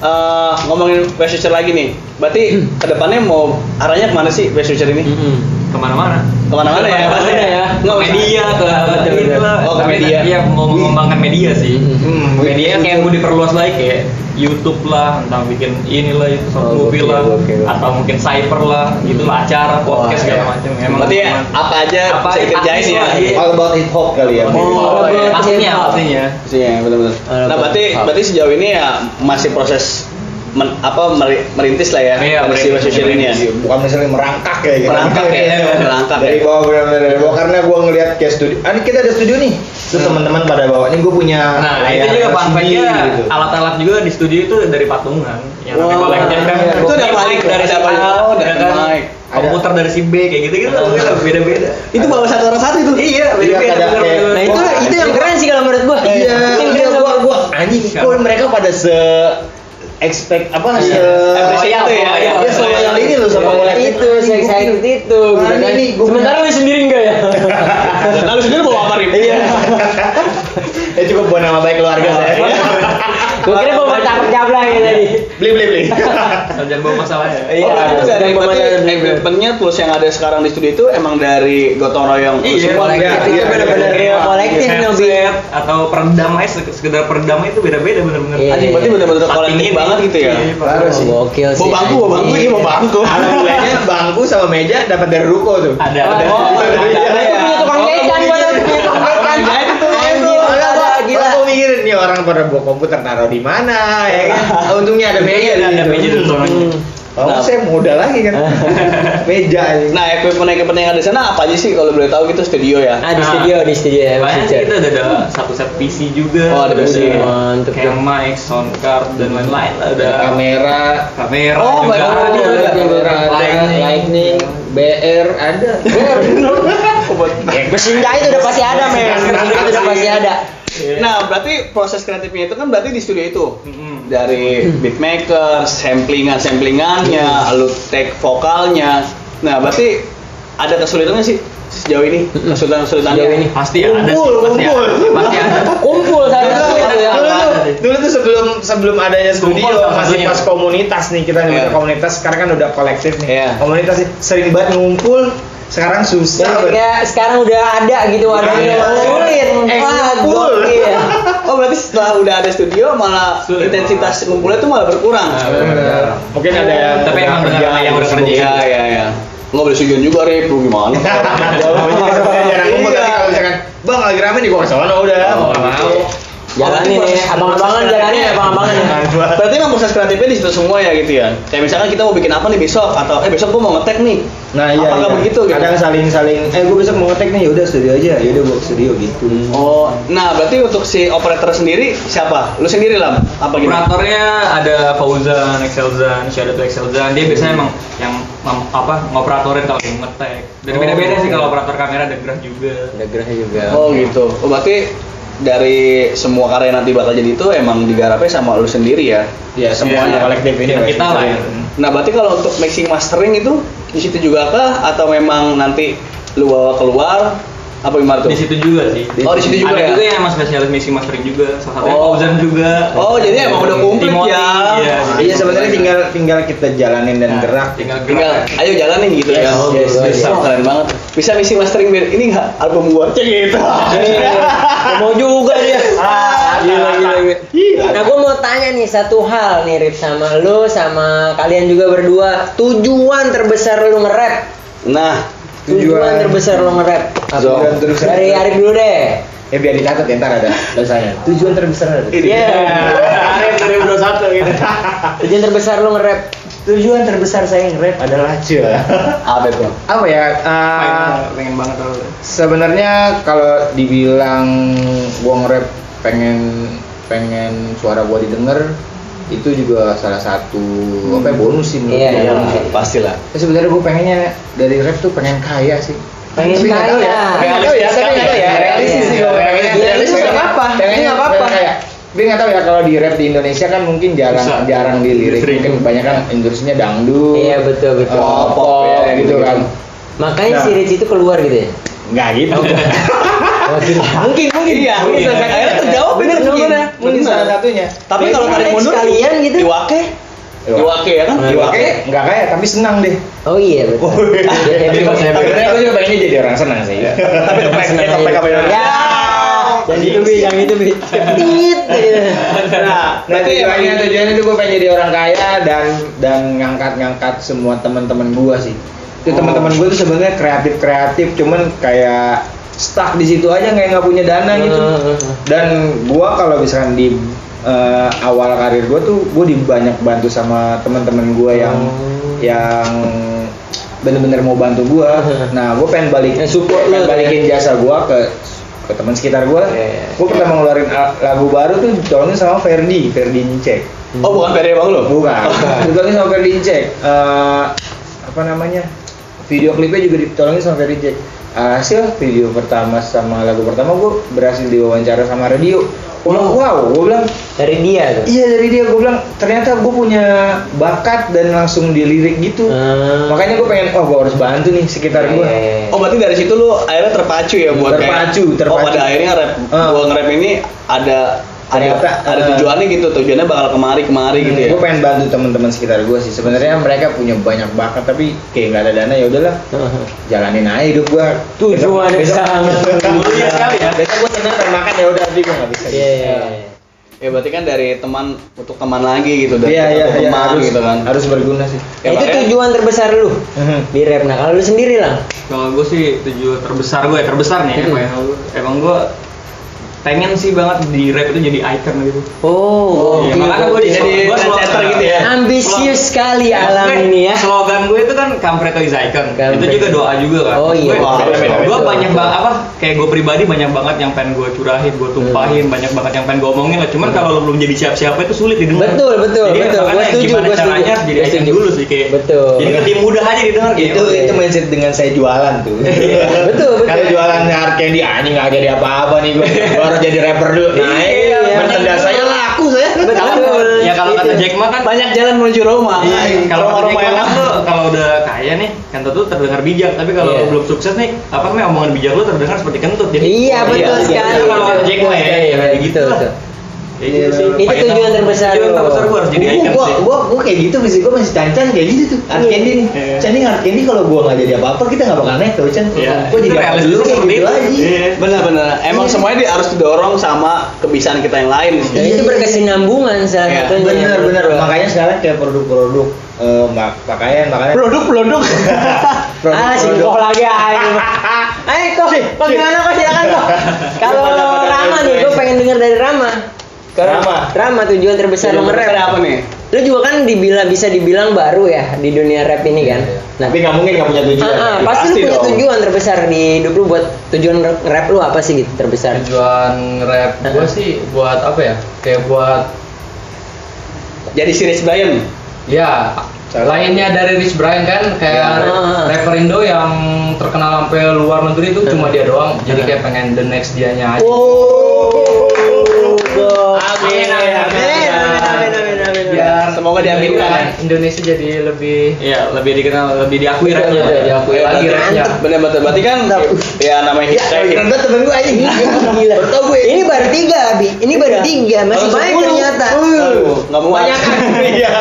Speaker 2: eh, ngomongin West Future lagi nih. Berarti kedepannya mau arahnya kemana sih West Future
Speaker 1: Hmm.
Speaker 2: ini?
Speaker 4: Mm-mm. Kemana-mana.
Speaker 2: Kemana-mana ya?
Speaker 4: Kemana-mana
Speaker 2: Pasti
Speaker 4: ya. Ke
Speaker 2: Nggak usah.
Speaker 4: media, ke ke
Speaker 2: bener,
Speaker 4: itu
Speaker 2: bener.
Speaker 4: lah.
Speaker 2: Oh, ke
Speaker 4: Tapi
Speaker 2: media.
Speaker 4: Iya, mau mengembangkan media sih.
Speaker 3: Hmm,
Speaker 4: Media kayak mau diperluas lagi kayak YouTube lah, entah bikin inilah itu short
Speaker 3: Oh,
Speaker 4: movie
Speaker 3: gokil,
Speaker 4: lah,
Speaker 3: gokil.
Speaker 4: atau mungkin cyber lah, itulah acara,
Speaker 2: iya.
Speaker 4: podcast segala macam. Emang
Speaker 2: Berarti ya,
Speaker 4: cuman-
Speaker 2: apa aja
Speaker 4: Apa
Speaker 2: bisa dikerjain
Speaker 4: artis
Speaker 2: ya?
Speaker 4: lah, iya.
Speaker 3: All about hip hop kali ya.
Speaker 2: Oh,
Speaker 4: Oh,
Speaker 2: iya.
Speaker 4: iya. pastinya, pastinya.
Speaker 2: Iya, benar-benar. Nah, berarti berarti sejauh ini ya masih proses men- apa meri- merintis lah ya
Speaker 4: Iya,
Speaker 2: dari si West
Speaker 4: merintis,
Speaker 2: Future ini ya.
Speaker 4: merintis.
Speaker 3: bukan misalnya merangkak ya gitu.
Speaker 2: Merangkak ya, merangkak ya.
Speaker 3: dari bawah benar-benar dari bawah karena gue ngelihat kayak studio ah, ini kita ada studio nih terus teman-teman pada bawa ini gue punya
Speaker 4: Nah, itu
Speaker 3: layar
Speaker 4: juga fun
Speaker 3: iya, sendiri
Speaker 4: fact-nya,
Speaker 3: gitu.
Speaker 4: alat-alat juga di studio itu dari patungan. Yang
Speaker 2: Wah,
Speaker 4: namanya kolektif kan.
Speaker 2: iya. Itu ada
Speaker 4: Mic
Speaker 2: mic,
Speaker 4: dari
Speaker 2: ada
Speaker 4: si A,
Speaker 2: mic. Oh, ada Iya,
Speaker 4: ya kan?
Speaker 2: mic.
Speaker 4: komputer dari si B kayak gitu-gitu lah, pokoknya beda-beda.
Speaker 2: Itu baru satu orang satu itu.
Speaker 4: Iya,
Speaker 3: Iya,
Speaker 4: beda-beda.
Speaker 3: kadang
Speaker 4: bener-bener.
Speaker 3: kayak-
Speaker 1: Nah itu itu yang keren sih kalau menurut gua.
Speaker 3: iya
Speaker 1: Yang
Speaker 3: iya
Speaker 1: keren
Speaker 3: gua
Speaker 1: sama-
Speaker 3: gua anjing kok mereka pada se expect apa se
Speaker 2: Apresiasi itu ya.
Speaker 4: Iya,
Speaker 3: Dia
Speaker 4: iya.
Speaker 3: seloyal ini loh sama
Speaker 1: Nah,
Speaker 3: kolektif.
Speaker 1: itu saya excited itu
Speaker 3: Nah,
Speaker 1: gitu
Speaker 3: ini
Speaker 1: kan.
Speaker 3: nih, gua
Speaker 1: Sementara lu sendiri enggak ya?
Speaker 2: Lalu Nah, sendiri bawa apa nih?
Speaker 3: Iya. ya cukup buat nama baik keluarga
Speaker 2: Nah,
Speaker 3: saya.
Speaker 2: iya.
Speaker 1: Gua kira mau tangkap jablang ya tadi.
Speaker 3: beli beli beli.
Speaker 4: Jangan bawa masalah ya.
Speaker 3: Iya.
Speaker 2: Oh, itu dari
Speaker 1: Dan
Speaker 2: berarti
Speaker 1: pemandangan juga.
Speaker 2: equipmentnya tools yang ada sekarang di studio itu emang dari gotong royong lu
Speaker 4: Iya,
Speaker 2: semua.
Speaker 3: iya,
Speaker 1: Kolektif
Speaker 3: iya,
Speaker 1: itu benar-benar
Speaker 3: iya.
Speaker 1: real kolektif Nobi.
Speaker 4: Headset atau peredam aja sekedar peredam itu beda-beda bener-bener.
Speaker 1: Iya.
Speaker 2: Anjing berarti benar-benar
Speaker 4: Saking
Speaker 2: kolektif
Speaker 4: ini.
Speaker 2: banget gitu ya.
Speaker 4: Iya,
Speaker 3: Baru sih.
Speaker 1: Gokil sih.
Speaker 2: Bawa bangku, bawa bangku, iya bawa bangku.
Speaker 3: Alhamdulillahnya bangku sama meja dapat dari ruko tuh.
Speaker 4: Ada
Speaker 1: Oh,
Speaker 4: ada.
Speaker 1: oh,
Speaker 3: iya,
Speaker 2: ada, ada.
Speaker 1: Itu punya tukang
Speaker 3: Oh,
Speaker 1: becan,
Speaker 3: iya.
Speaker 1: padahal punya tukang becan. Anjing, ada, ada, gila.
Speaker 3: Gue mikirin nih orang pada bawa komputer taruh di mana ya kan? Ah, Untungnya ada meja di
Speaker 4: ada
Speaker 3: situ.
Speaker 4: meja dan sononya.
Speaker 3: Oh,
Speaker 2: Nah.
Speaker 3: saya muda lagi kan. meja aja.
Speaker 2: Nah, equipment-equipment yang ada di sana apa aja sih kalau boleh tahu gitu studio ya?
Speaker 1: Nah, di studio, di studio ya, Mas
Speaker 4: Banyak
Speaker 1: Ica.
Speaker 4: kita ada, ada satu set PC juga.
Speaker 2: Oh, ada PC.
Speaker 1: Mantep.
Speaker 4: Kayak mic, sound card dan lain-lain lah. Ada
Speaker 3: kamera,
Speaker 4: kamera
Speaker 2: Oh,
Speaker 4: juga.
Speaker 2: banyak
Speaker 4: ada.
Speaker 2: juga.
Speaker 3: kamera,
Speaker 4: Lightning.
Speaker 3: lightning, BR ada.
Speaker 1: Mesin jahit udah pasti ada, men. Mesin jahit udah pasti ada.
Speaker 2: Nah, berarti proses kreatifnya itu kan berarti di studio itu.
Speaker 4: Mm-mm.
Speaker 2: Dari beatmaker, samplingan-samplingannya, lu take vokalnya. Nah, berarti ada kesulitannya sih sejauh ini kesulitan-kesulitannya
Speaker 1: Sejauh ini.
Speaker 4: Pasti ada.
Speaker 3: Kumpul,
Speaker 4: pasti ada.
Speaker 3: kumpul.
Speaker 4: Pasti ada.
Speaker 1: Kumpul satu
Speaker 3: Dulu tuh-
Speaker 1: satu ya.
Speaker 3: dulu tuh- dulu tuh sebelum sebelum adanya studio
Speaker 4: Kumpul sama
Speaker 3: masih
Speaker 4: dunia.
Speaker 3: pas komunitas nih kita nyebutnya
Speaker 2: Iya.
Speaker 3: komunitas sekarang kan udah kolektif nih
Speaker 2: Iya.
Speaker 3: komunitas nih, sering banget ngumpul sekarang susah
Speaker 1: Dan
Speaker 3: banget.
Speaker 1: kayak sekarang udah ada iya, gitu
Speaker 3: Iya.
Speaker 1: wadahnya sulit.
Speaker 3: Eh,
Speaker 1: Wah,
Speaker 3: kumpul.
Speaker 1: gokil.
Speaker 2: Oh berarti setelah udah ada studio malah
Speaker 4: Sulit.
Speaker 2: intensitas ngumpulnya tuh malah berkurang.
Speaker 4: Nah,
Speaker 3: Bener. mungkin ada yang
Speaker 4: Tapi
Speaker 3: udah
Speaker 4: emang bener
Speaker 3: kerja,
Speaker 4: yang udah
Speaker 3: sibuk.
Speaker 4: kerja.
Speaker 2: Iya iya iya. Nggak boleh sujud juga Rip, lu gimana?
Speaker 3: Jadi sebenarnya kan jarang ngumpul
Speaker 2: Iya.
Speaker 3: tapi kalau misalkan bang lagi rame nih gua ke sono udah
Speaker 4: Oh, nggak mau.
Speaker 2: iya.
Speaker 1: Jalanin nih, abang-abangan jalanin ya, abang-abangan ya.
Speaker 2: Berarti emang proses kreatifnya di situ semua ya gitu ya. Kayak misalkan kita mau bikin apa nih besok atau eh besok gua mau ngetek nih.
Speaker 3: Nah iya,
Speaker 2: Apakah
Speaker 3: iya.
Speaker 2: begitu gitu?
Speaker 3: kadang saling-saling, eh gue besok mau ngetek nih, yaudah studio aja, yaudah gua ke studio gitu
Speaker 2: Oh, nah berarti untuk si operator sendiri siapa? Lu sendiri lah apa gitu?
Speaker 4: Operatornya ada Fauzan, Excelzan, Shadow to Excelzan. Dia biasanya emang yang mem- apa ngoperatorin kalau yang ngetek. Dan
Speaker 1: Oh,
Speaker 4: beda-beda sih
Speaker 1: iya.
Speaker 4: kalau operator kamera ada gerah juga.
Speaker 1: Ada gerahnya juga.
Speaker 2: Oh gitu. Oh, berarti dari semua karya yang nanti bakal jadi itu emang digarapnya sama lu sendiri ya.
Speaker 3: Iya semuanya
Speaker 4: Iya.
Speaker 3: kolektif ini
Speaker 4: Kita- kita lah ya.
Speaker 2: Nah berarti kalau untuk mixing mastering itu di situ juga kah atau memang nanti lu bawa keluar apa gimana tuh?
Speaker 4: Di situ juga sih.
Speaker 2: Oh, di situ juga
Speaker 4: ada
Speaker 2: ya?
Speaker 4: juga yang emang spesialis mixing mastering juga. Salah satunya
Speaker 2: Oh.
Speaker 4: Fauzan juga.
Speaker 2: Oh jadi emang udah komplit
Speaker 4: Timothy,
Speaker 2: ya.
Speaker 4: iya.
Speaker 3: Iya sebenarnya tinggal tinggal kita jalanin dan
Speaker 4: Nah,
Speaker 3: gerak
Speaker 4: Tinggal
Speaker 2: Tinggal
Speaker 4: gerak.
Speaker 2: ayo jalanin gitu
Speaker 3: Yes,
Speaker 2: ya.
Speaker 3: yes,
Speaker 2: Wah,
Speaker 3: yes.
Speaker 2: keren banget. Bisa mixing mastering biar ini nggak album gua aja gitu.
Speaker 1: Iya. Gak mau juga dia. Ah, gila, gila, gila.
Speaker 3: Iya.
Speaker 1: Nah, gue mau tanya nih satu hal nih Rip sama lu sama kalian juga berdua. Tujuan terbesar lu nge-rap?
Speaker 2: Nah
Speaker 1: Tujuan,
Speaker 3: Tujuan.
Speaker 1: terbesar lu nge-rap? apa?
Speaker 3: Tujuan terbesar.
Speaker 1: Dari Arif dulu deh.
Speaker 3: Ya biar dicatat ya, ntar ada dosanya. Tujuan terbesar ada.
Speaker 2: ini.
Speaker 1: Iya.
Speaker 3: Arif 2021 gitu.
Speaker 1: Tujuan terbesar lu nge-rap?
Speaker 3: Tujuan terbesar saya nge-rap adalah cua.
Speaker 2: Apa itu?
Speaker 3: Apa ya? uh,
Speaker 4: Pengen- Pengen banget lu.
Speaker 3: Sebenarnya kalau dibilang gua nge-rap pengen pengen suara gua didengar itu juga salah satu apa ya, bonus sih menurut
Speaker 1: Iya,
Speaker 3: gua,
Speaker 1: iya.
Speaker 3: bonus sih.
Speaker 2: Pastilah.
Speaker 3: Ya, sebenarnya gue pengennya dari rap tuh pengen kaya sih.
Speaker 1: Pengen
Speaker 3: Tapi nggak tahu
Speaker 1: kaya.
Speaker 3: Tapi nggak tahu ya, tapi nggak tahu ya.
Speaker 1: Iya.
Speaker 3: Realistis sih gue pengennya.
Speaker 1: Iya,
Speaker 3: Realistis
Speaker 1: itu nggak
Speaker 3: pengen-
Speaker 1: apa-apa.
Speaker 3: pengennya
Speaker 1: Itu nggak apa-apa.
Speaker 3: pengen kaya. Tapi nggak tahu ya kalau di rap di Indonesia kan mungkin jarang
Speaker 4: Bisa.
Speaker 3: jarang dilirik.
Speaker 4: Sering.
Speaker 3: Mungkin kebanyakan industrinya dangdut.
Speaker 1: Iya, betul, betul.
Speaker 3: eh, pop,
Speaker 2: Pop, ya,
Speaker 3: gitu
Speaker 2: gitu.
Speaker 3: kan.
Speaker 1: Makanya
Speaker 3: Nah.
Speaker 1: si Rich itu keluar gitu ya.
Speaker 3: Nggak gitu.
Speaker 1: mungkin mungkin
Speaker 2: Iya,
Speaker 1: mungkin
Speaker 2: iya.
Speaker 1: akhirnya terjawab
Speaker 3: Bener,
Speaker 1: bener mungkin
Speaker 3: bener. Mungkin salah satunya.
Speaker 2: Tapi kalau tarik
Speaker 1: Next
Speaker 2: mundur
Speaker 1: kalian gitu.
Speaker 2: Iwake. Iwake ya kan?
Speaker 3: Iwake Iya. nggak kayak tapi senang deh.
Speaker 1: oh iya betul
Speaker 5: Tapi kalau saya
Speaker 3: Akhirnya aku juga pengennya jadi orang senang sih.
Speaker 2: Tapi kepek
Speaker 3: Senang
Speaker 2: kepek
Speaker 3: aja. Nah,
Speaker 2: apa ya?
Speaker 1: Ya.
Speaker 3: Yang itu bi, yang itu bi.
Speaker 1: tit gitu.
Speaker 2: Nah,
Speaker 3: Nah,
Speaker 2: berarti
Speaker 3: tujuannya
Speaker 2: emang-
Speaker 3: tujuannya itu gue pengen jadi orang kaya dan dan ngangkat-ngangkat semua teman-teman gue sih. Itu teman-teman gue tuh sebenarnya kreatif-kreatif, cuman kayak stuck di situ aja kayak nggak punya dana gitu. Dan gua kalau misalkan di eh, awal karir gue tuh gue di banyak bantu sama teman-teman gue yang
Speaker 1: Oh.
Speaker 3: yang bener-bener mau bantu gue. Nah, gue pengen balik
Speaker 1: Yang support lu. ya?
Speaker 3: pengen
Speaker 1: Iya,
Speaker 3: balikin jasa gue ke ke teman sekitar gue. Gue pertama ngeluarin al- lagu baru tuh ditolongin sama Ferdi, Ferdi Incek.
Speaker 2: Oh, bukan PD Bang lo.
Speaker 3: Bukan,
Speaker 1: Oh.
Speaker 3: ditolongin sama Ferdi Incek. Eh, apa namanya? Video klipnya juga ditolongin sama Ferdi Incek. Hasil video pertama sama lagu pertama gue berhasil diwawancara sama radio. Gua bilang, wow, gue bilang
Speaker 1: dari dia tuh
Speaker 3: Iya dari dia gue bilang ternyata gue punya bakat dan langsung dilirik gitu.
Speaker 1: Hmm.
Speaker 3: Makanya gue pengen oh gue harus bantu nih sekitar gue.
Speaker 1: Iya, iya, iya.
Speaker 2: Oh berarti dari situ lu akhirnya terpacu ya buat kayak-
Speaker 3: Terpacu, terpacu.
Speaker 2: Oh pada akhirnya rap,
Speaker 3: Ah.
Speaker 2: gua nge-rap ini ada ada
Speaker 3: Ternyata,
Speaker 2: ada
Speaker 3: ah.
Speaker 2: tujuannya gitu, tujuannya bakal kemari kemari gitu ya.
Speaker 3: Gue pengen bantu teman-teman sekitar gue sih. Sebenarnya mereka punya banyak bakat tapi kayak nggak ada dana ya udahlah jalanin aja hidup gue.
Speaker 1: Tujuannya sangat
Speaker 4: mulia sekali ya.
Speaker 3: Besok gue senang dan makan ya udah tapi gue nggak bisa.
Speaker 1: iya iya iya.
Speaker 2: Ya berarti kan dari teman untuk teman lagi gitu, dari
Speaker 3: Iya
Speaker 2: kita
Speaker 3: iya
Speaker 2: untuk
Speaker 3: iya
Speaker 2: teman
Speaker 3: harus
Speaker 2: gitu kan.
Speaker 3: harus berguna sih.
Speaker 2: Ya,
Speaker 1: itu
Speaker 2: makanya-
Speaker 1: tujuan terbesar lu
Speaker 3: Mhm.
Speaker 1: di rap nah kalau lu sendiri lah
Speaker 4: Kalau gue sih tujuan terbesar gue ya terbesar nih
Speaker 1: Hmm.
Speaker 4: emang emang gue pengen sih banget di rap itu jadi icon gitu.
Speaker 1: oh, oke.
Speaker 2: Ya,
Speaker 4: Iya, makanya gue jadi
Speaker 2: Jadi
Speaker 4: gua slogan-
Speaker 2: trendsetter gitu ya.
Speaker 3: Iya.
Speaker 1: ambisius
Speaker 4: slogan-
Speaker 1: sekali alam
Speaker 4: Oke,
Speaker 1: ini ya
Speaker 4: Eh, Slogan gue itu kan Kampret is Icon.
Speaker 1: Kampret.
Speaker 4: Itu juga doa juga kan.
Speaker 1: Oh, iya.
Speaker 4: Gue,
Speaker 2: Wah, beda-beda.
Speaker 4: gue banyak banget apa kayak gue pribadi banyak banget yang pengen gue curahin, gue tumpahin,
Speaker 1: Hmm.
Speaker 4: banyak banget yang pengen gue omongin lah. Cuman kalau lo belum jadi siapa-siapa itu sulit didengar.
Speaker 1: Betul, betul,
Speaker 4: jadi,
Speaker 1: betul. Gua
Speaker 4: makanya
Speaker 1: setuju,
Speaker 4: gimana
Speaker 1: gua setuju.
Speaker 4: caranya harus jadi
Speaker 1: Gua
Speaker 4: icon
Speaker 1: setuju.
Speaker 4: dulu sih kayak.
Speaker 1: Betul.
Speaker 4: Jadi lebih mudah aja didengar kayak. "Oh, iya."
Speaker 3: Itu gitu, itu mindset dengan saya jualan tuh.
Speaker 1: betul
Speaker 3: Kalau
Speaker 1: betul
Speaker 3: jualannya Arkendi anjing nggak jadi apa-apa nih gue. Gua harus jadi rapper dulu. Nah,
Speaker 1: Iya,
Speaker 3: merchandise saya laku saya.
Speaker 1: betul
Speaker 4: Ya kalau kata Jack Ma kan
Speaker 2: Banyak jalan menuju Roma.
Speaker 4: Iya, kalau
Speaker 2: Roma
Speaker 4: orang
Speaker 2: Roma yang
Speaker 4: kan
Speaker 2: lama.
Speaker 4: tuh kalau udah kaya nih, kentut tuh terdengar bijak, tapi kalau
Speaker 1: Iya.
Speaker 4: lu belum sukses nih, apa namanya omongan bijak lu terdengar seperti kentut. Jadi
Speaker 1: iya betul
Speaker 2: iya,
Speaker 1: sekali
Speaker 4: Itu kalau Jack Ma
Speaker 1: Iya,
Speaker 4: ya,
Speaker 1: iya,
Speaker 4: kayak
Speaker 1: betul,
Speaker 4: gitu.
Speaker 1: betul.
Speaker 4: lah. Ya gitu sih.
Speaker 1: Itu
Speaker 4: Makanya
Speaker 1: tujuan terbesar
Speaker 4: Tujuan
Speaker 1: lu.
Speaker 4: terbesar gua harus jadi
Speaker 3: Jadi
Speaker 4: icon
Speaker 3: gua,
Speaker 4: sih.
Speaker 3: gua, gua kayak gitu masih gua masih cancan kayak gitu tuh. Arkendi nih.
Speaker 4: Iya.
Speaker 3: Cancan Arkendi kalau gua nggak jadi apa-apa kita nggak bakal naik tuh Chan.
Speaker 4: Iya.
Speaker 3: Gua jadi
Speaker 4: Itu
Speaker 3: apa
Speaker 4: realistis
Speaker 3: dulu kayak
Speaker 4: seperti
Speaker 3: gitu
Speaker 4: itu.
Speaker 3: aja.
Speaker 4: Iya.
Speaker 2: Benar-benar. Emang semuanya dia harus didorong sama kebiasaan kita yang lain.
Speaker 1: Ya, itu berkesinambungan salah
Speaker 2: Iya,
Speaker 1: satunya
Speaker 3: Bener bener. Makanya sekarang kayak produk-produk eh, mak- pakaian pakaian.
Speaker 2: Produk produk.
Speaker 1: ah Eh, singkong lagi ayo ayo kok kok gimana kok silakan kok kalau
Speaker 2: Gimana, gimana,
Speaker 1: Rama nih
Speaker 2: gimana?
Speaker 1: gue pengen dengar dari Rama
Speaker 3: Rama.
Speaker 1: Rama tujuan terbesar lu
Speaker 2: Nomornya
Speaker 1: nge-rap
Speaker 2: apa nih?
Speaker 1: lu juga kan dibilang bisa dibilang baru ya di dunia rap ini kan nah
Speaker 3: Tapi nggak mungkin nggak punya
Speaker 1: ah,
Speaker 3: tujuan.
Speaker 1: ah, pasti
Speaker 2: Pasti
Speaker 1: lu punya
Speaker 2: dong.
Speaker 1: tujuan terbesar di hidup lu buat tujuan rap lu apa sih gitu terbesar
Speaker 5: tujuan rap gue sih buat apa ya? Kayak buat
Speaker 2: Jadi series Brian.
Speaker 5: ya
Speaker 3: Cara-
Speaker 5: lainnya dari Rich Brian kan kayak
Speaker 1: Ya.
Speaker 5: rapper Indo yang terkenal sampai luar negeri itu cuma dia doang. Jadi kayak pengen the next dianya aja.
Speaker 1: Oh, Amin, amin, amin, amin, amin, amin. Iya.
Speaker 5: Biar
Speaker 2: Ya, Semoga diambilkan.
Speaker 5: kan Indonesia jadi lebih
Speaker 4: Iya, lebih dikenal, lebih diakui
Speaker 5: Iya,
Speaker 4: rapnya. ya.
Speaker 5: iya, diakui
Speaker 2: ya,
Speaker 5: lagi rapnya.
Speaker 2: Bener bener. Berarti kan ya namanya
Speaker 3: Ya,
Speaker 2: kita
Speaker 3: keren banget temen gue anjing.
Speaker 1: Gila.
Speaker 3: Baru tau gue.
Speaker 1: Ini baru tiga, Abi. Ini baru tiga, masih
Speaker 2: Kalau
Speaker 1: banyak
Speaker 2: 10,
Speaker 1: ternyata.
Speaker 2: aduh, nggak muat.
Speaker 3: Iya.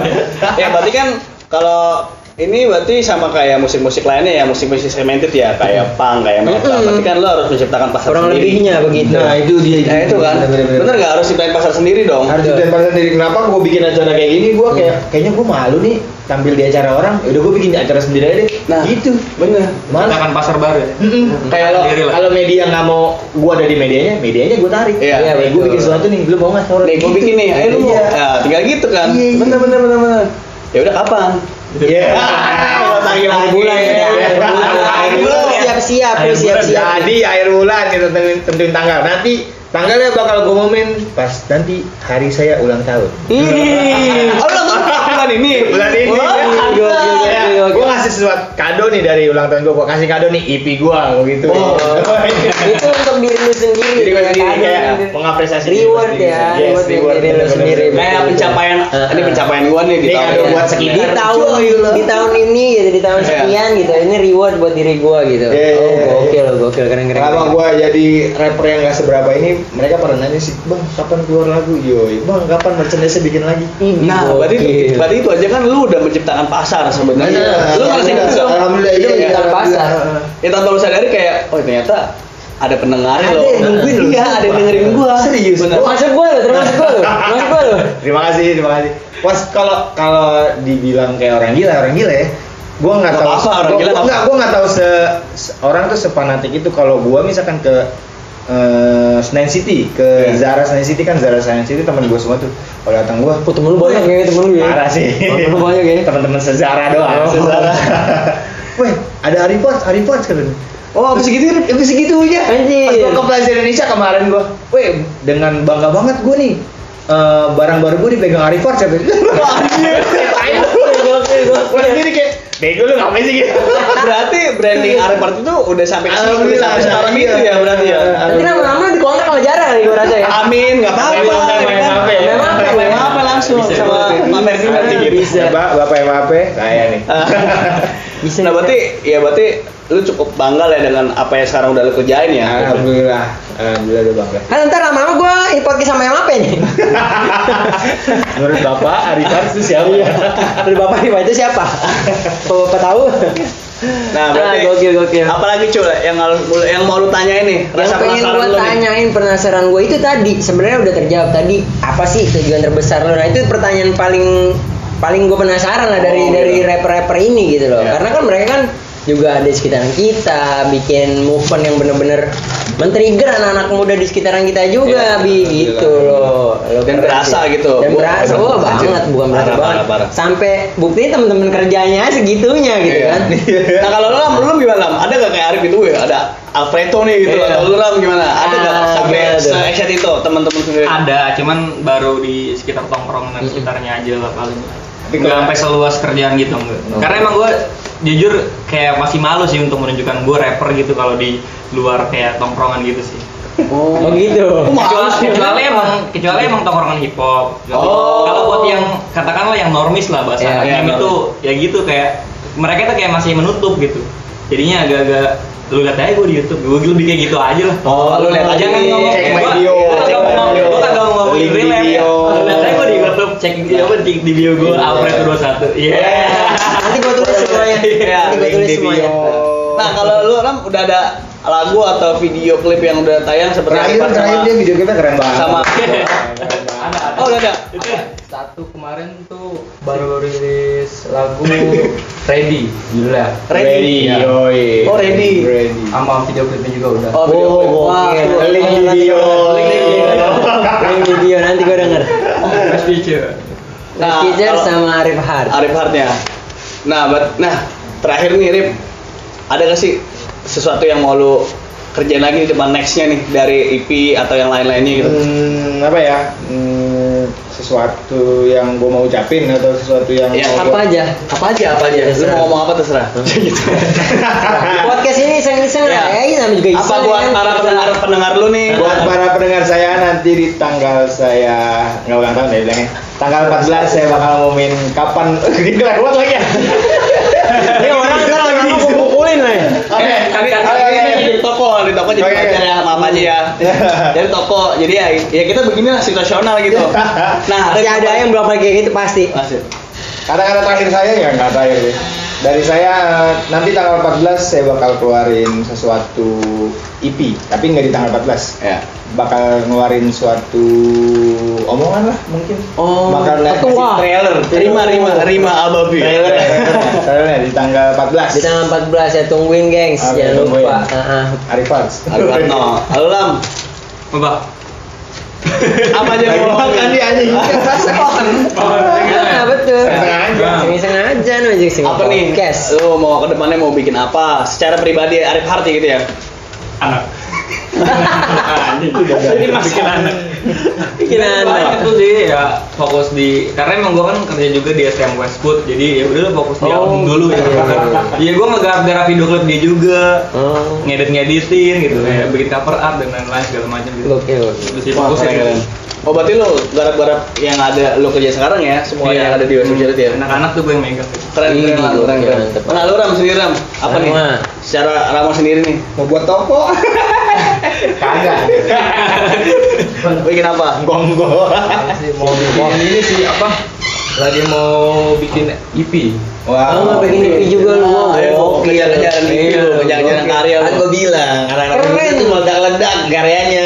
Speaker 2: ya berarti kan kalau ini berarti sama kayak musik-musik lainnya ya musik-musik segmented
Speaker 1: Iya.
Speaker 2: ya kayak punk kayak metal. Berarti kan lo harus menciptakan pasar
Speaker 1: Kurang
Speaker 2: sendiri.
Speaker 1: lebihnya begitu.
Speaker 3: Nah itu dia.
Speaker 2: Ya itu kan.
Speaker 3: Bener-bener.
Speaker 2: Bener nggak harus ciptain pasar sendiri dong.
Speaker 3: harus ditempel sendiri kenapa gue bikin acara kayak gini gue kayak kayaknya gue malu nih tampil di acara orang Ya udah gue bikin acara sendiri aja deh
Speaker 2: Nah.
Speaker 3: gitu
Speaker 2: Bener.
Speaker 3: malah
Speaker 4: Ciptakan pasar baru ya.
Speaker 3: Mm-mm. kayak lo
Speaker 4: Sendiri lah.
Speaker 3: kalau media nggak mau gue ada di medianya medianya gue tarik
Speaker 2: Iya.
Speaker 3: Iya,
Speaker 1: Iya,
Speaker 3: gue
Speaker 1: betul.
Speaker 3: bikin sesuatu nih lu mau nggak gitu. Iya. seorang
Speaker 2: Nih gue bikin nih, ayo lu mau. Ya, tinggal gitu kan.
Speaker 3: Iya, iya.
Speaker 2: Bener bener bener bener. Ya udah kapan?
Speaker 3: Iya.
Speaker 1: Akhir bulan ya, akhir bulan.
Speaker 3: Akhir bulan.
Speaker 1: Lu Siap-siap, lu
Speaker 4: Akhir bulan,
Speaker 1: siap-siap.
Speaker 3: Jadi akhir bulan kita tentuin, tentuin tanggal. Nanti tanggalnya bakal gue momen pas nanti hari saya ulang tahun.
Speaker 1: Ih.
Speaker 2: Oh lo bulan ini.
Speaker 3: Bulan ini
Speaker 2: Wah,
Speaker 3: ya.
Speaker 1: gokil, gokil,
Speaker 3: Ya,
Speaker 1: gokil.
Speaker 3: Gue ngasih sesuatu kado nih dari ulang tahun gue. Gue kasih kado nih IP gue, gue gitu.
Speaker 2: Oh.
Speaker 1: Itu untuk diri lu sendiri
Speaker 3: Jadi gue sendiri
Speaker 1: kadang
Speaker 3: kayak
Speaker 1: ada-
Speaker 3: mengapresiasi diri gue
Speaker 1: reward
Speaker 3: sendiri.
Speaker 1: ya
Speaker 3: Yes,
Speaker 1: reward yang
Speaker 3: reward,
Speaker 1: diri lu
Speaker 3: bener-bener. Nah,
Speaker 1: sendiri
Speaker 2: kayak
Speaker 1: betul.
Speaker 2: Eh, pencapaian
Speaker 1: Heeh.
Speaker 2: ini pencapaian gua nih di
Speaker 3: Ini
Speaker 2: tahun
Speaker 3: kado
Speaker 2: ini.
Speaker 3: buat
Speaker 1: Iya.
Speaker 3: sekitar.
Speaker 1: di tahun
Speaker 2: Cuy, gila.
Speaker 1: di tahun ini gitu di tahun
Speaker 2: Iya.
Speaker 1: sekian gitu ini reward buat diri gua gitu
Speaker 3: Iya, iya,
Speaker 1: oh
Speaker 3: iya, iya.
Speaker 1: gokil gokil keren keren
Speaker 3: Kenapa
Speaker 1: keren.
Speaker 3: gue jadi rapper yang gak seberapa ini Mereka pernah nanya sih Bang kapan keluar lagu? Yoi Bang kapan merchandise bikin lagi?
Speaker 1: Ih,
Speaker 2: Nah, berarti
Speaker 1: gokil.
Speaker 2: berarti itu aja kan lu udah menciptakan pasar
Speaker 1: Iya.
Speaker 2: sebenarnya.
Speaker 1: Bener.
Speaker 2: Lu ngerasain itu dong.
Speaker 3: Alhamdulillah
Speaker 1: Itu
Speaker 3: iya, iya,
Speaker 1: menciptakan
Speaker 3: alhamdulillah.
Speaker 1: pasar.
Speaker 2: Ya tanpa lu sadari kayak oh ternyata ada pendengar
Speaker 1: Ada
Speaker 2: loh.
Speaker 1: yang nungguin lu.
Speaker 2: Iya, ada yang dengerin gua.
Speaker 3: Serius?
Speaker 2: Bener.
Speaker 1: termasuk gua loh termasuk gua loh termasuk gua loh
Speaker 3: Terima kasih, terima kasih. Mas kalau kalau dibilang kayak orang gila, orang gila ya. Gua nggak
Speaker 2: Nggak
Speaker 3: tahu.
Speaker 2: apa-apa, orang
Speaker 3: gua-
Speaker 2: gila
Speaker 3: gua-
Speaker 2: nggak
Speaker 3: nggak, gua nggak tahu se, se- orang tuh sepanatik itu. Kalau gua misalkan ke eh, Senayan City, ke
Speaker 2: Iya.
Speaker 3: Zara Senayan City kan Zara Senayan City teman gua semua tuh. Kalau datang gua,
Speaker 1: Oh, temen lu banyak ya temen lu ya
Speaker 3: parah sih.
Speaker 1: temen lu banyak ya
Speaker 3: Teman-teman sezara doang.
Speaker 1: Oh.
Speaker 3: Sezara. Weh, ada Arifat, Arifat katanya.
Speaker 2: Oh, habis gitu Rip.
Speaker 3: Tapi segitunya.
Speaker 1: Anjir.
Speaker 3: Iya. Pas gua ke Plaza Indonesia kemarin gua, weh dengan bangga banget gua nih. eh, barang baru gua dipegang Arifat siapa? Anjir.
Speaker 1: Gokil,
Speaker 3: Gua
Speaker 1: gokil.
Speaker 3: sendiri kayak bego lu ngapain sih gitu.
Speaker 2: berarti branding Arpart itu udah sampai ke sini, udah sampai sekarang itu ya berarti ya.
Speaker 1: nanti lama-lama dikontrak sama jarang kali gua rasa
Speaker 3: Ah,
Speaker 1: ya
Speaker 2: Amin, nggak apa-apa.
Speaker 3: Sama yang apa ya?
Speaker 2: Memang apa langsung
Speaker 4: Bisa,
Speaker 2: sama
Speaker 1: bisa.
Speaker 2: Mamer Kimberly gitu.
Speaker 1: Bisa.
Speaker 3: Bapak, bapak MAP, saya nih.
Speaker 1: Bisa, bisa.
Speaker 2: nah berarti ya berarti lu cukup bangga lah ya dengan apa yang sekarang udah lu kerjain ya.
Speaker 3: Alhamdulillah, alhamdulillah udah bangga.
Speaker 1: kan ntar lama-lama gua ipotki sama yang apa nih
Speaker 3: Menurut bapak Arifat itu siapa?
Speaker 1: dari bapak nih itu siapa kalau bapak tahu
Speaker 2: Nah berarti
Speaker 1: Ah, gokil, gokil.
Speaker 2: Apalagi cuy yang harus- yang mau lu tanyain nih.
Speaker 1: yang pengen
Speaker 2: penasaran
Speaker 1: gua
Speaker 2: lu nih.
Speaker 1: tanyain penasaran gua itu tadi sebenarnya udah terjawab tadi apa sih tujuan terbesar lo nah itu pertanyaan paling paling gua penasaran lah dari
Speaker 2: Oh,
Speaker 1: dari
Speaker 2: gitu.
Speaker 1: rapper-rapper ini gitu loh
Speaker 3: Iya.
Speaker 1: karena kan mereka kan juga ada di sekitaran kita bikin movement yang bener-bener men-trigger anak-anak muda di sekitaran kita juga
Speaker 3: Iya,
Speaker 1: bi
Speaker 3: alhamdulillah.
Speaker 1: gitu loh Lo
Speaker 2: Dan
Speaker 1: keren
Speaker 2: berasa
Speaker 1: sih.
Speaker 2: gitu.
Speaker 1: dan
Speaker 2: Gua-
Speaker 1: berasa wah
Speaker 2: Anjir.
Speaker 1: banget bukan berasa
Speaker 2: Parah,
Speaker 1: banget
Speaker 2: parah, parah.
Speaker 1: sampai buktinya temen-temen kerjanya segitunya gitu
Speaker 2: Iya.
Speaker 1: kan
Speaker 2: Nah kalau lu lam, lu Lam gimana lam? Ada nggak kayak Arif itu ya? Ada Alfredo nih gitu.
Speaker 1: Iya.
Speaker 2: Kalau lu lam gimana? Ada nggak
Speaker 1: Ah,
Speaker 2: sampai
Speaker 1: gimana tuh?
Speaker 2: se excited itu teman-teman sendiri?
Speaker 4: ada cuman baru di sekitar tongkrongan dan sekitarnya aja lah paling nggak
Speaker 3: kalau-
Speaker 4: sampai seluas kerjaan gitu enggak
Speaker 3: No.
Speaker 4: karena emang gue jujur kayak masih malu sih untuk menunjukkan gue rapper gitu kalau di luar kayak tongkrongan gitu sih
Speaker 1: oh gitu
Speaker 2: Oh, malu
Speaker 4: kecuali,
Speaker 2: sih.
Speaker 4: kecuali emang kecuali emang tongkrongan hip hop
Speaker 2: Oh.
Speaker 4: kalau buat yang katakanlah yang normis lah bahasa
Speaker 1: Iya,
Speaker 4: anaknya
Speaker 2: iya,
Speaker 4: itu ya gitu kayak mereka tuh kayak masih menutup gitu jadinya agak-agak lu lihat aja gue di YouTube gue lebih kayak gitu aja lah
Speaker 2: Oh, lu lihat aja
Speaker 4: jangan
Speaker 2: nih.
Speaker 4: ngomong
Speaker 3: Cek my
Speaker 4: gua-
Speaker 3: bio,
Speaker 4: gua
Speaker 3: cek my
Speaker 4: kagak mau ngomong
Speaker 3: bio.
Speaker 4: gua kagak mau ngomong
Speaker 2: Link
Speaker 4: real ya
Speaker 2: video.
Speaker 4: Lu lihat aja gue di YouTube cek apa di, di bio gue
Speaker 3: Iya.
Speaker 4: upload 21 iya
Speaker 1: nanti gua tulis semuanya
Speaker 2: Iya,
Speaker 1: nanti gua tulis
Speaker 3: Link di
Speaker 1: semuanya
Speaker 3: bio.
Speaker 2: Nah kalau lu lam udah ada lagu atau video klip yang udah tayang seperti
Speaker 3: Terakhir,
Speaker 2: Arifat
Speaker 3: terakhir
Speaker 2: sama-
Speaker 3: dia video kita keren banget.
Speaker 2: sama- Oh udah ada.
Speaker 5: satu kemarin tuh baru rilis lagu Ready judulnya
Speaker 2: Ready.
Speaker 3: Ready. Yoi.
Speaker 2: Oh, ready.
Speaker 3: Ready.
Speaker 5: sama video klipnya juga udah
Speaker 2: Oh, video klip. Wah,
Speaker 1: gokil.
Speaker 2: tuh.
Speaker 3: Link di bio.
Speaker 1: Link di video. Link di video nanti gua denger
Speaker 4: Mas Picu.
Speaker 1: Nah,
Speaker 2: Nah,
Speaker 1: Kizer
Speaker 2: kalau-
Speaker 1: sama Arif Hard
Speaker 2: Arif Hartnya. Nah, bat- nah terakhir nih Rip, ada gak sih sesuatu yang mau lu kerjain lagi di depan nextnya nih dari EP atau yang lain-lainnya gitu?
Speaker 3: Hmm, apa ya? Hmm, sesuatu yang gue mau ucapin atau sesuatu yang
Speaker 2: Ya,
Speaker 3: mau
Speaker 1: apa
Speaker 3: gua-
Speaker 1: aja
Speaker 2: Apa aja, apa aja. Lu mau ngomong apa terserah. gitu.
Speaker 1: Di podcast ini iseng-iseng
Speaker 2: Ya.
Speaker 1: lah ya ini namanya juga
Speaker 2: Nah. apa
Speaker 1: iseng
Speaker 2: buat
Speaker 1: kan.
Speaker 2: para pendengar pendengar lu nih?
Speaker 3: Buat para pendengar saya nanti di tanggal saya nggak ulang tahun ya bilangnya. Tanggal 14 saya bakal ngumumin kapan gitu lah buat lagi ya.
Speaker 2: Iya,
Speaker 1: ini orang ntar lagi mau gua pukulin lah ya
Speaker 3: Oke,
Speaker 2: Kami
Speaker 3: oke, oke.
Speaker 2: di toko, di toko jadi
Speaker 3: Oke, oke.
Speaker 2: wajar ya sama apa aja ya.
Speaker 3: Ya.
Speaker 2: Dari toko, jadi ya, ya kita beginilah situasional gitu.
Speaker 3: Iya.
Speaker 2: Nah,
Speaker 1: pasti
Speaker 2: Rip,
Speaker 1: ada
Speaker 2: apa-
Speaker 1: yang belum kayak gitu pasti
Speaker 2: Masih.
Speaker 3: Kata-kata terakhir saya ya nggak terakhir sih. Dari saya eh, nanti tanggal 14 saya bakal keluarin sesuatu EP, tapi nggak di tanggal 14.
Speaker 2: Ya.
Speaker 3: Bakal ngeluarin suatu omongan lah mungkin.
Speaker 2: Oh,
Speaker 3: Bakal na-
Speaker 1: petua.
Speaker 3: ngasih
Speaker 2: trailer, terima, terima, terima ababi.
Speaker 3: Oh. Trailer ya, trailer ya, di tanggal 14.
Speaker 1: di tanggal 14 ya tungguin gengs
Speaker 3: Oke,
Speaker 1: jangan
Speaker 3: tungguin.
Speaker 1: lupa Ah, Heeh.
Speaker 3: Arifat.
Speaker 2: Arbatno, Alam,
Speaker 4: Mbak.
Speaker 2: apa aja yang
Speaker 3: Lagi
Speaker 2: mau
Speaker 3: makan
Speaker 2: makan
Speaker 3: dia anjing.
Speaker 1: Ah, betul
Speaker 3: Sengaja.
Speaker 1: iseng-iseng aja nih iseng
Speaker 2: Apa nih?
Speaker 1: podcast
Speaker 2: Lu mau ke depannya mau bikin apa? Secara pribadi Arif Harti gitu ya.
Speaker 4: Anak. Jadi bikin anak.
Speaker 1: Bikin anak.
Speaker 4: Banyak tuh sih ya fokus di karena emang gue kan kerja juga di STM Westwood jadi ya udah lu fokus di
Speaker 1: Oh,
Speaker 4: album dulu ya.
Speaker 1: iya, iya,
Speaker 4: Iya gue ngegarap garap video klip dia juga
Speaker 1: Oh,
Speaker 4: ngedit ngeditin gitu
Speaker 2: Iya.
Speaker 4: ya bikin cover art dan lain-lain segala macam gitu.
Speaker 1: gokil.
Speaker 4: Terus sih
Speaker 2: Wah,
Speaker 4: fokus
Speaker 2: keren,
Speaker 4: ya.
Speaker 2: keren. Oh berarti lo garap-garap yang ada lo kerja sekarang ya, semua yang ada di West
Speaker 4: Hmm,
Speaker 2: Charity ya?
Speaker 1: Nah,
Speaker 4: Anak-anak tuh gue yang megang.
Speaker 2: Keren,
Speaker 1: Iya,
Speaker 2: keren, keren,
Speaker 1: iya,
Speaker 2: keren, keren.
Speaker 1: mantep.
Speaker 2: Nah, lo Ram sendiri Ram, apa nih?
Speaker 1: Rama.
Speaker 2: Secara Rama sendiri nih,
Speaker 3: mau buat toko kagak
Speaker 2: bikin apa?
Speaker 3: gonggol
Speaker 5: Apa sih, mau bikin ini sih apa lagi mau bikin EP
Speaker 1: Oh, bikin EP juga lu.
Speaker 2: Ayo,
Speaker 1: Gokil.
Speaker 2: kejar-kejaran mimpi
Speaker 1: Iya,
Speaker 2: lo, kejar-kejaran
Speaker 1: gokil.
Speaker 2: karya
Speaker 3: kan
Speaker 2: lo.
Speaker 3: gue bilang anak-anak
Speaker 1: Keren.
Speaker 3: muda itu meledak-ledak karyanya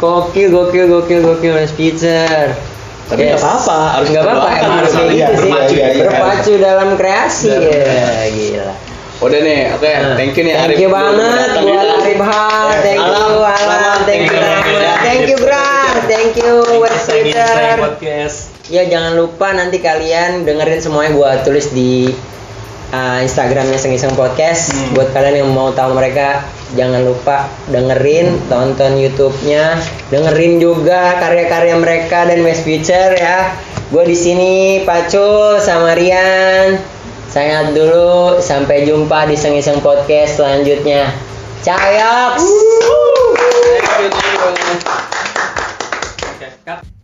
Speaker 1: Gokil, gokil, gokil, gokil, Mas Peter.
Speaker 2: Tapi nggak apa-apa, harus
Speaker 1: nggak apa-apa.
Speaker 2: berdoakan,
Speaker 1: Emang harus
Speaker 2: harus
Speaker 1: gitu
Speaker 3: iya,
Speaker 1: sih.
Speaker 3: berpacu ya, iya.
Speaker 1: Berpacu dalam kreasi. Ya, gila.
Speaker 2: Udah nih, oke,
Speaker 1: Nah,
Speaker 2: thank you nih Arif.
Speaker 1: Thank you banget
Speaker 2: Datang ya.
Speaker 1: buat
Speaker 2: nih.
Speaker 1: Arif Han. Thank you
Speaker 2: Alam,
Speaker 1: Alam.
Speaker 2: Alam,
Speaker 1: Thank you
Speaker 4: thank you,
Speaker 1: Rahmat.
Speaker 4: Arif.
Speaker 1: Thank you Bram. Thank you West
Speaker 4: Insane
Speaker 1: Peter.
Speaker 4: podcast.
Speaker 1: Ya jangan lupa nanti kalian dengerin semuanya gua tulis di uh, Instagramnya Sengiseng Podcast.
Speaker 4: Hmm.
Speaker 1: Buat kalian yang mau tahu mereka jangan lupa dengerin, tonton YouTube-nya, dengerin juga karya-karya mereka dan West Future ya. Gua di sini Pacul sama Rian. Saya dulu sampai jumpa di Sengiseng Podcast selanjutnya. Cayoks.
Speaker 2: Thank you, thank you.
Speaker 4: Oke, cut.